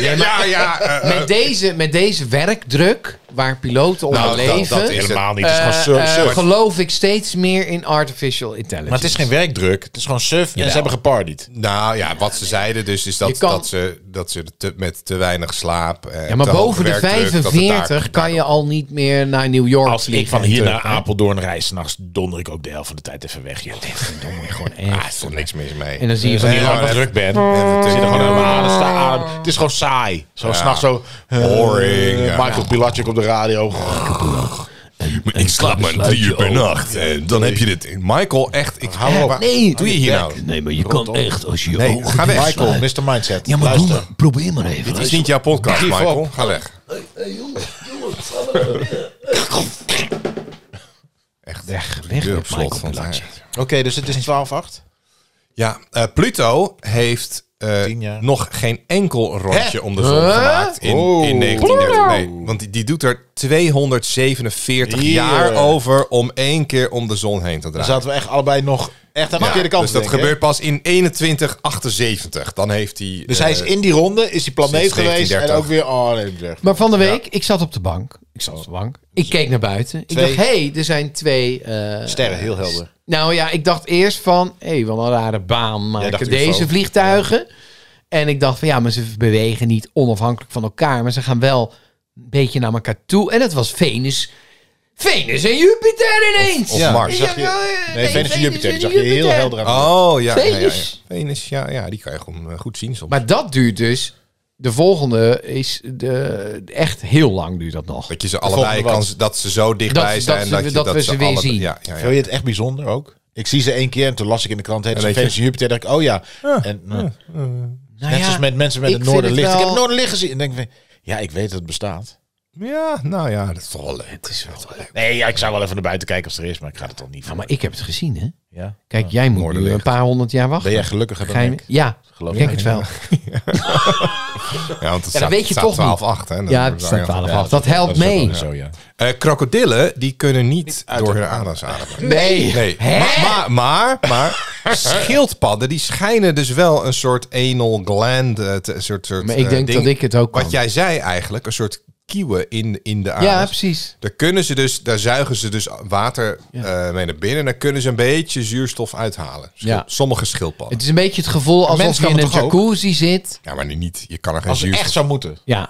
Speaker 2: Ja, ja, ja. eh,
Speaker 3: (laughs)
Speaker 2: eh,
Speaker 3: Met deze, met deze werkdruk, waar piloten onder
Speaker 2: nou, dat-
Speaker 3: leven...
Speaker 2: dat is helemaal
Speaker 4: Helemaal niet. Het is gewoon surf.
Speaker 3: eh,
Speaker 4: surf.
Speaker 3: geloof ik steeds meer in artificial intelligence.
Speaker 4: maar het is geen werkdruk. Het is gewoon surf. En ze hebben gepartied.
Speaker 2: Nou ja, wat ze zeiden dus is
Speaker 3: Je
Speaker 2: dat,
Speaker 3: kan-
Speaker 2: dat ze, dat ze te- met te weinig slaap. eh,
Speaker 3: ja, maar
Speaker 2: te hoge
Speaker 3: boven de
Speaker 2: werkdruk, dat het daar-
Speaker 3: 45 kan je al niet meer naar New York
Speaker 4: Als ik
Speaker 3: vliegen
Speaker 4: van hier
Speaker 3: en
Speaker 4: naar
Speaker 3: terug, hè?
Speaker 4: Apeldoorn reis, s'nachts donder ik ook de helft van de tijd even weg. Joh. Verdomme, gewoon echt.
Speaker 2: Ah, er is toch niks mis mee. Eh,
Speaker 3: En dan zie je van
Speaker 4: Als
Speaker 3: die
Speaker 4: je
Speaker 2: Ja,
Speaker 4: lang
Speaker 2: maar-
Speaker 4: druk bent,
Speaker 2: Even
Speaker 4: zit er
Speaker 2: tussen-
Speaker 4: gewoon aan mijn adem,
Speaker 2: eh,
Speaker 4: sta adem. Het is gewoon saai. Zo s'nachts zo... eh,
Speaker 2: Boring, ja.
Speaker 4: Michael Pilatschik op de radio.
Speaker 2: Ik slaap maar drie uur per nacht. En dan heb je dit. Michael, echt. Ik, hou op. Nee, doe je hier nou?
Speaker 5: Nee, maar je kan echt als je je
Speaker 2: Nee,
Speaker 5: ogen
Speaker 2: ga weg.
Speaker 5: dicht
Speaker 4: Michael,
Speaker 5: slaat.
Speaker 4: Mr. Mindset.
Speaker 5: Ja, maar doe
Speaker 4: Luister.
Speaker 5: maar. Probeer maar even.
Speaker 2: Het is niet jouw podcast,
Speaker 4: Geef
Speaker 2: Michael.
Speaker 4: op.
Speaker 2: Ga weg. Echt weg. Deur op slot van het huis.
Speaker 4: Oké, dus het is 12-8.
Speaker 2: Ja, eh, Pluto heeft eh,
Speaker 4: Tien jaar.
Speaker 2: nog geen enkel rondje
Speaker 4: Hè? Oh.
Speaker 2: om de zon
Speaker 3: Huh?
Speaker 2: gemaakt in, in 1930. Nee, want die, die doet er 247
Speaker 4: Hier.
Speaker 2: jaar over om één keer om de zon heen te
Speaker 4: Dan
Speaker 2: draaien.
Speaker 4: zaten we echt allebei nog echt aan de
Speaker 2: Ja,
Speaker 4: verkeerde kant.
Speaker 2: dus dat
Speaker 4: denk ik, hè?
Speaker 2: gebeurt pas in 2178. Dan heeft hij...
Speaker 4: Dus
Speaker 2: eh,
Speaker 4: hij is in die ronde, is die planeet
Speaker 2: sinds
Speaker 4: geweest en
Speaker 2: 1930.
Speaker 4: ook weer... Oh, nee, ik zeg.
Speaker 3: Maar van de week, ik zat op de bank. Ik zat op de bank. Ik keek naar buiten.
Speaker 4: Twee-
Speaker 3: Ik dacht, hé, hey, er zijn twee... eh,
Speaker 4: Sterren, heel helder.
Speaker 3: Nou ja, ik dacht eerst van, hé, wat een rare baan
Speaker 4: dacht
Speaker 3: maken
Speaker 4: UFO.
Speaker 3: deze vliegtuigen. En ik dacht van, ja, maar ze bewegen niet onafhankelijk van elkaar, maar ze gaan wel een beetje naar elkaar toe. En het was Venus. Venus en Jupiter ineens!
Speaker 2: Of Mars.
Speaker 4: Zag je,
Speaker 3: Ja, ja,
Speaker 4: nee,
Speaker 3: ja,
Speaker 4: Venus en Jupiter, die zag je
Speaker 3: Jupiter.
Speaker 4: heel helder aan.
Speaker 2: Oh, ja. ja, ja, ja.
Speaker 3: Venus.
Speaker 2: Venus, ja, ja. Die kan je gewoon eh, goed zien soms.
Speaker 3: Maar dat duurt dus, de volgende is de, echt heel lang duurt dat nog.
Speaker 2: dat je ze allebei
Speaker 4: volgende
Speaker 2: kan...
Speaker 4: wat?
Speaker 2: Dat ze zo dichtbij
Speaker 3: Dat- dat
Speaker 2: zijn
Speaker 3: ze-
Speaker 2: dat, je,
Speaker 3: dat we ze weer
Speaker 2: alle-
Speaker 3: zien.
Speaker 2: Ja, ja, ja.
Speaker 4: Vind je het echt bijzonder ook? Ik zie ze één keer en toen las ik in de krant... Het
Speaker 2: En
Speaker 4: is
Speaker 2: weet je-
Speaker 4: Venus en Jupiter. dacht ik, oh ja. En, nou,
Speaker 3: Nou
Speaker 4: net
Speaker 3: ja,
Speaker 4: zoals met mensen met
Speaker 3: ik
Speaker 4: het
Speaker 3: vind
Speaker 4: noorderlicht.
Speaker 3: het
Speaker 4: Ah, Ik heb
Speaker 3: wel-
Speaker 4: het noorderlicht gezien. En denk ik, ja, ik weet dat het bestaat.
Speaker 2: Ja, nou ja, dat is toch wel leuk. Het is wel leuk.
Speaker 4: Nee, ja, ik zou wel even naar buiten kijken als er is, maar ik ga het toch niet
Speaker 3: Ja,
Speaker 4: van.
Speaker 3: maar ik heb het gezien, hè.
Speaker 4: Ja.
Speaker 3: Kijk, jij moet nu
Speaker 2: Noorderlicht.
Speaker 3: een paar honderd jaar wachten.
Speaker 4: Ben jij gelukkiger dan
Speaker 3: Ga je-
Speaker 4: ik?
Speaker 3: Ja,
Speaker 4: Geloof
Speaker 3: ik denk
Speaker 4: ik.
Speaker 3: het
Speaker 2: (laughs)
Speaker 3: wel.
Speaker 2: Ja, want het
Speaker 3: Ja,
Speaker 2: staat,
Speaker 3: dan weet je
Speaker 2: staat
Speaker 3: toch niet.
Speaker 2: 12-8, hè. Dat
Speaker 3: Ja,
Speaker 2: wordt
Speaker 3: het staat
Speaker 2: daar-
Speaker 3: 12 af. Dat helpt
Speaker 4: is ook
Speaker 3: mee.
Speaker 4: wel Zo, ja.
Speaker 2: Eh, krokodillen, die kunnen niet door hun anus ademen.
Speaker 3: Nee.
Speaker 2: Nee,
Speaker 3: Hè?
Speaker 2: maar, maar, maar, maar
Speaker 3: (laughs)
Speaker 2: schildpadden die schijnen dus wel een soort anal gland, eh, te- een soort, soort
Speaker 3: Maar ik
Speaker 2: eh,
Speaker 3: denk
Speaker 2: ding.
Speaker 3: dat ik het ook kan.
Speaker 2: Wat jij zei eigenlijk, een soort kieuwen in, in de anus.
Speaker 3: Ja, precies.
Speaker 2: Daar kunnen ze dus, daar zuigen ze dus water eh, mee naar binnen en dan kunnen ze een beetje zuurstof uithalen. Schil-
Speaker 3: Ja.
Speaker 2: Sommige schildpadden.
Speaker 3: Het is een beetje het gevoel alsof
Speaker 4: mens
Speaker 3: je
Speaker 4: kan
Speaker 3: in een
Speaker 4: het toch ook?
Speaker 3: jacuzzi zit.
Speaker 2: Ja, maar nu niet. Je kan er geen
Speaker 4: Als het
Speaker 2: zuurstof.
Speaker 4: echt zou moeten.
Speaker 2: (laughs)
Speaker 3: Ja.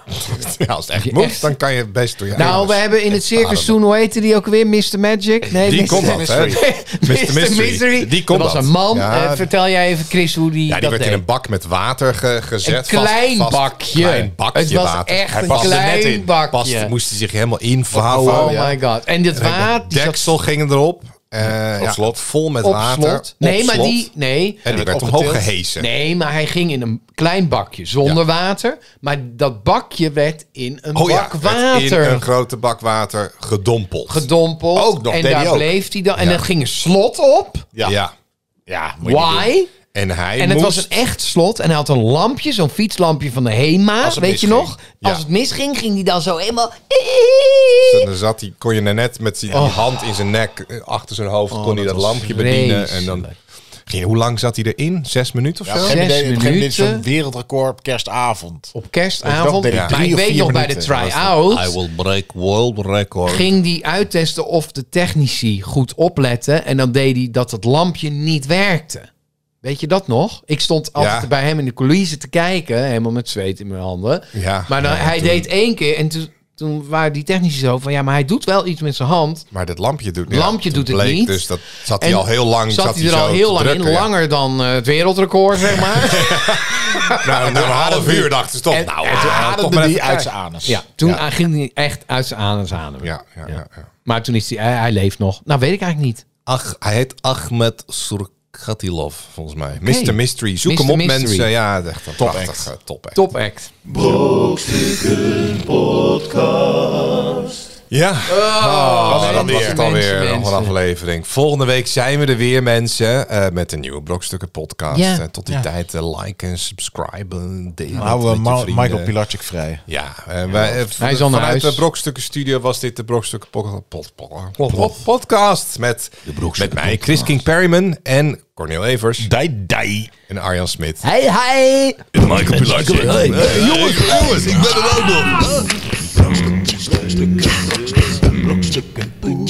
Speaker 2: Ja, als het echt
Speaker 3: je
Speaker 2: moet,
Speaker 3: echt-
Speaker 2: dan kan je best door je
Speaker 3: Nou,
Speaker 2: anus.
Speaker 3: we hebben in het circus
Speaker 2: ademen.
Speaker 3: toen, hoe heette die ook weer? Mr. Magic? Nee,
Speaker 2: Die
Speaker 3: Mr.
Speaker 2: kon dat, hè?
Speaker 3: Mr. Mystery.
Speaker 2: Die kon
Speaker 3: dat
Speaker 2: dat.
Speaker 3: was een man.
Speaker 2: Ja,
Speaker 3: Eh, vertel jij even, Chris, hoe die
Speaker 2: Ja, die
Speaker 3: dat
Speaker 2: werd
Speaker 3: deed.
Speaker 2: in een bak met water ge- gezet.
Speaker 3: Een klein
Speaker 2: vast, vast,
Speaker 3: bakje.
Speaker 2: Klein bakje
Speaker 3: Het was
Speaker 2: water.
Speaker 3: echt
Speaker 2: Hij
Speaker 3: een
Speaker 2: paste
Speaker 3: klein
Speaker 2: net in.
Speaker 3: bakje.
Speaker 2: Past, moest hij zich helemaal invouwen.
Speaker 3: Oh
Speaker 2: Ja.
Speaker 3: my god. En dit water...
Speaker 2: Het
Speaker 3: die zat
Speaker 2: deksel ging erop. Eh, ja,
Speaker 4: slot.
Speaker 2: Vol met
Speaker 3: op
Speaker 2: water.
Speaker 3: slot.
Speaker 2: Op
Speaker 3: Nee, maar
Speaker 2: slot.
Speaker 3: die... Nee.
Speaker 2: En die werd
Speaker 4: opgetild.
Speaker 2: omhoog gehesen.
Speaker 3: Nee, maar hij ging in een klein bakje zonder water. Maar dat bakje werd in een
Speaker 2: Oh ja,
Speaker 3: bak
Speaker 2: werd in
Speaker 3: water
Speaker 2: een grote bak water gedompeld.
Speaker 3: gedompeld.
Speaker 2: Ook nog,
Speaker 3: en
Speaker 2: deed
Speaker 3: daar
Speaker 2: hij ook.
Speaker 3: bleef hij dan. En
Speaker 2: Ja.
Speaker 3: dat ging een slot op.
Speaker 2: ja. ja.
Speaker 4: Ja, moet je niet doen.
Speaker 3: Why?
Speaker 2: En hij
Speaker 3: En het
Speaker 2: moest...
Speaker 3: was een echt slot. En hij had een lampje, zo'n fietslampje van de HEMA.
Speaker 4: Als het
Speaker 3: Weet je
Speaker 4: misging.
Speaker 3: nog?
Speaker 2: Ja.
Speaker 3: Als het misging, ging hij dan zo helemaal...
Speaker 2: En dan zat hij, kon je er net met zijn die
Speaker 3: Oh.
Speaker 2: hand in zijn nek, eh, achter zijn hoofd, kon hij dat,
Speaker 3: was
Speaker 2: lampje bedienen. En dan,
Speaker 3: vreselijk.
Speaker 2: ging, hoe lang zat hij erin? Zes minuten of
Speaker 4: Ja,
Speaker 2: zo?
Speaker 4: op een gegeven moment-
Speaker 3: Zes
Speaker 4: op een gegeven moment
Speaker 3: minuten.
Speaker 4: zo'n wereldrecord op kerstavond.
Speaker 3: Op
Speaker 4: Dat
Speaker 3: kerstavond.
Speaker 4: deed hij
Speaker 3: Maar
Speaker 4: drie
Speaker 3: ik
Speaker 4: of
Speaker 3: weet
Speaker 4: vier
Speaker 3: nog bij de
Speaker 4: minuten.
Speaker 5: I
Speaker 3: try-out...
Speaker 5: will break world record.
Speaker 3: ging hij uittesten of de technici goed opletten. En dan deed hij dat het lampje niet werkte. Weet je dat nog? Ik stond altijd
Speaker 2: Ja.
Speaker 3: bij hem in de coulissen te kijken. Helemaal met zweet in mijn handen.
Speaker 2: Ja,
Speaker 3: maar dan,
Speaker 2: ja,
Speaker 3: hij
Speaker 2: toen-
Speaker 3: deed één keer en toen... Toen waren die technici zo van ja, maar hij doet wel iets met zijn hand.
Speaker 2: Maar dat lampje doet,
Speaker 3: Het lampje
Speaker 2: toen
Speaker 3: doet het
Speaker 2: bleek
Speaker 3: niet.
Speaker 2: Dus dat zat hij
Speaker 3: En
Speaker 2: al heel lang.
Speaker 3: Zat hij er
Speaker 2: zo
Speaker 3: al
Speaker 2: te
Speaker 3: heel lang
Speaker 2: drukken,
Speaker 3: in,
Speaker 2: ja.
Speaker 3: langer dan eh, het wereldrecord, zeg
Speaker 2: (laughs)
Speaker 3: maar. (laughs)
Speaker 2: Nou, na een half uur dachten ze toch.
Speaker 3: En
Speaker 2: nou,
Speaker 3: hij
Speaker 2: het- eh,
Speaker 4: Ademde
Speaker 2: toch maar
Speaker 4: die
Speaker 2: even
Speaker 4: uit
Speaker 2: uit.
Speaker 4: zijn anus.
Speaker 3: ja, toen ging hij echt uit zijn anus ademen.
Speaker 2: Ja, ja, ja, ja.
Speaker 3: Maar toen is hij, hij, hij leeft nog. Nou, weet ik eigenlijk niet.
Speaker 2: Ach, hij heet Ahmed Surkatilov, volgens mij. Mr. Mystery. Zoek
Speaker 3: Mr.
Speaker 2: hem op,
Speaker 3: Mystery.
Speaker 2: mensen. Ja, echt een top prachtige top act.
Speaker 3: Top act.
Speaker 1: Brokstukken Podcast.
Speaker 2: Ja. Oh,
Speaker 3: nee,
Speaker 2: dan
Speaker 3: mensen,
Speaker 2: is het alweer
Speaker 3: mensen,
Speaker 2: nog een
Speaker 3: mensen.
Speaker 2: aflevering. Volgende week zijn we er weer, mensen. eh, met een nieuwe Brokstukken podcast.
Speaker 3: Ja.
Speaker 2: En tot die
Speaker 4: Ja.
Speaker 2: tijd, eh, like en subscribe. Deel het
Speaker 4: Houden we
Speaker 2: met je
Speaker 4: Nou, eh, Ma-
Speaker 2: vrienden.
Speaker 4: Michael Pilarczyk vrij.
Speaker 2: Ja, en wij, eh,
Speaker 3: Hij is al naar
Speaker 2: vanuit
Speaker 3: huis.
Speaker 2: de Brokstukken Studio was dit de Brokstukken pod- pod- pod- pod- podcast met, met mij, Chris King Perryman en Cornel Evers
Speaker 5: Die, die.
Speaker 2: en Arjan Smit.
Speaker 3: Hey, hey.
Speaker 5: Michael Pilarczyk. Jongens, jongens, ik ben er ook nog. Brokstukken. Brokstukken.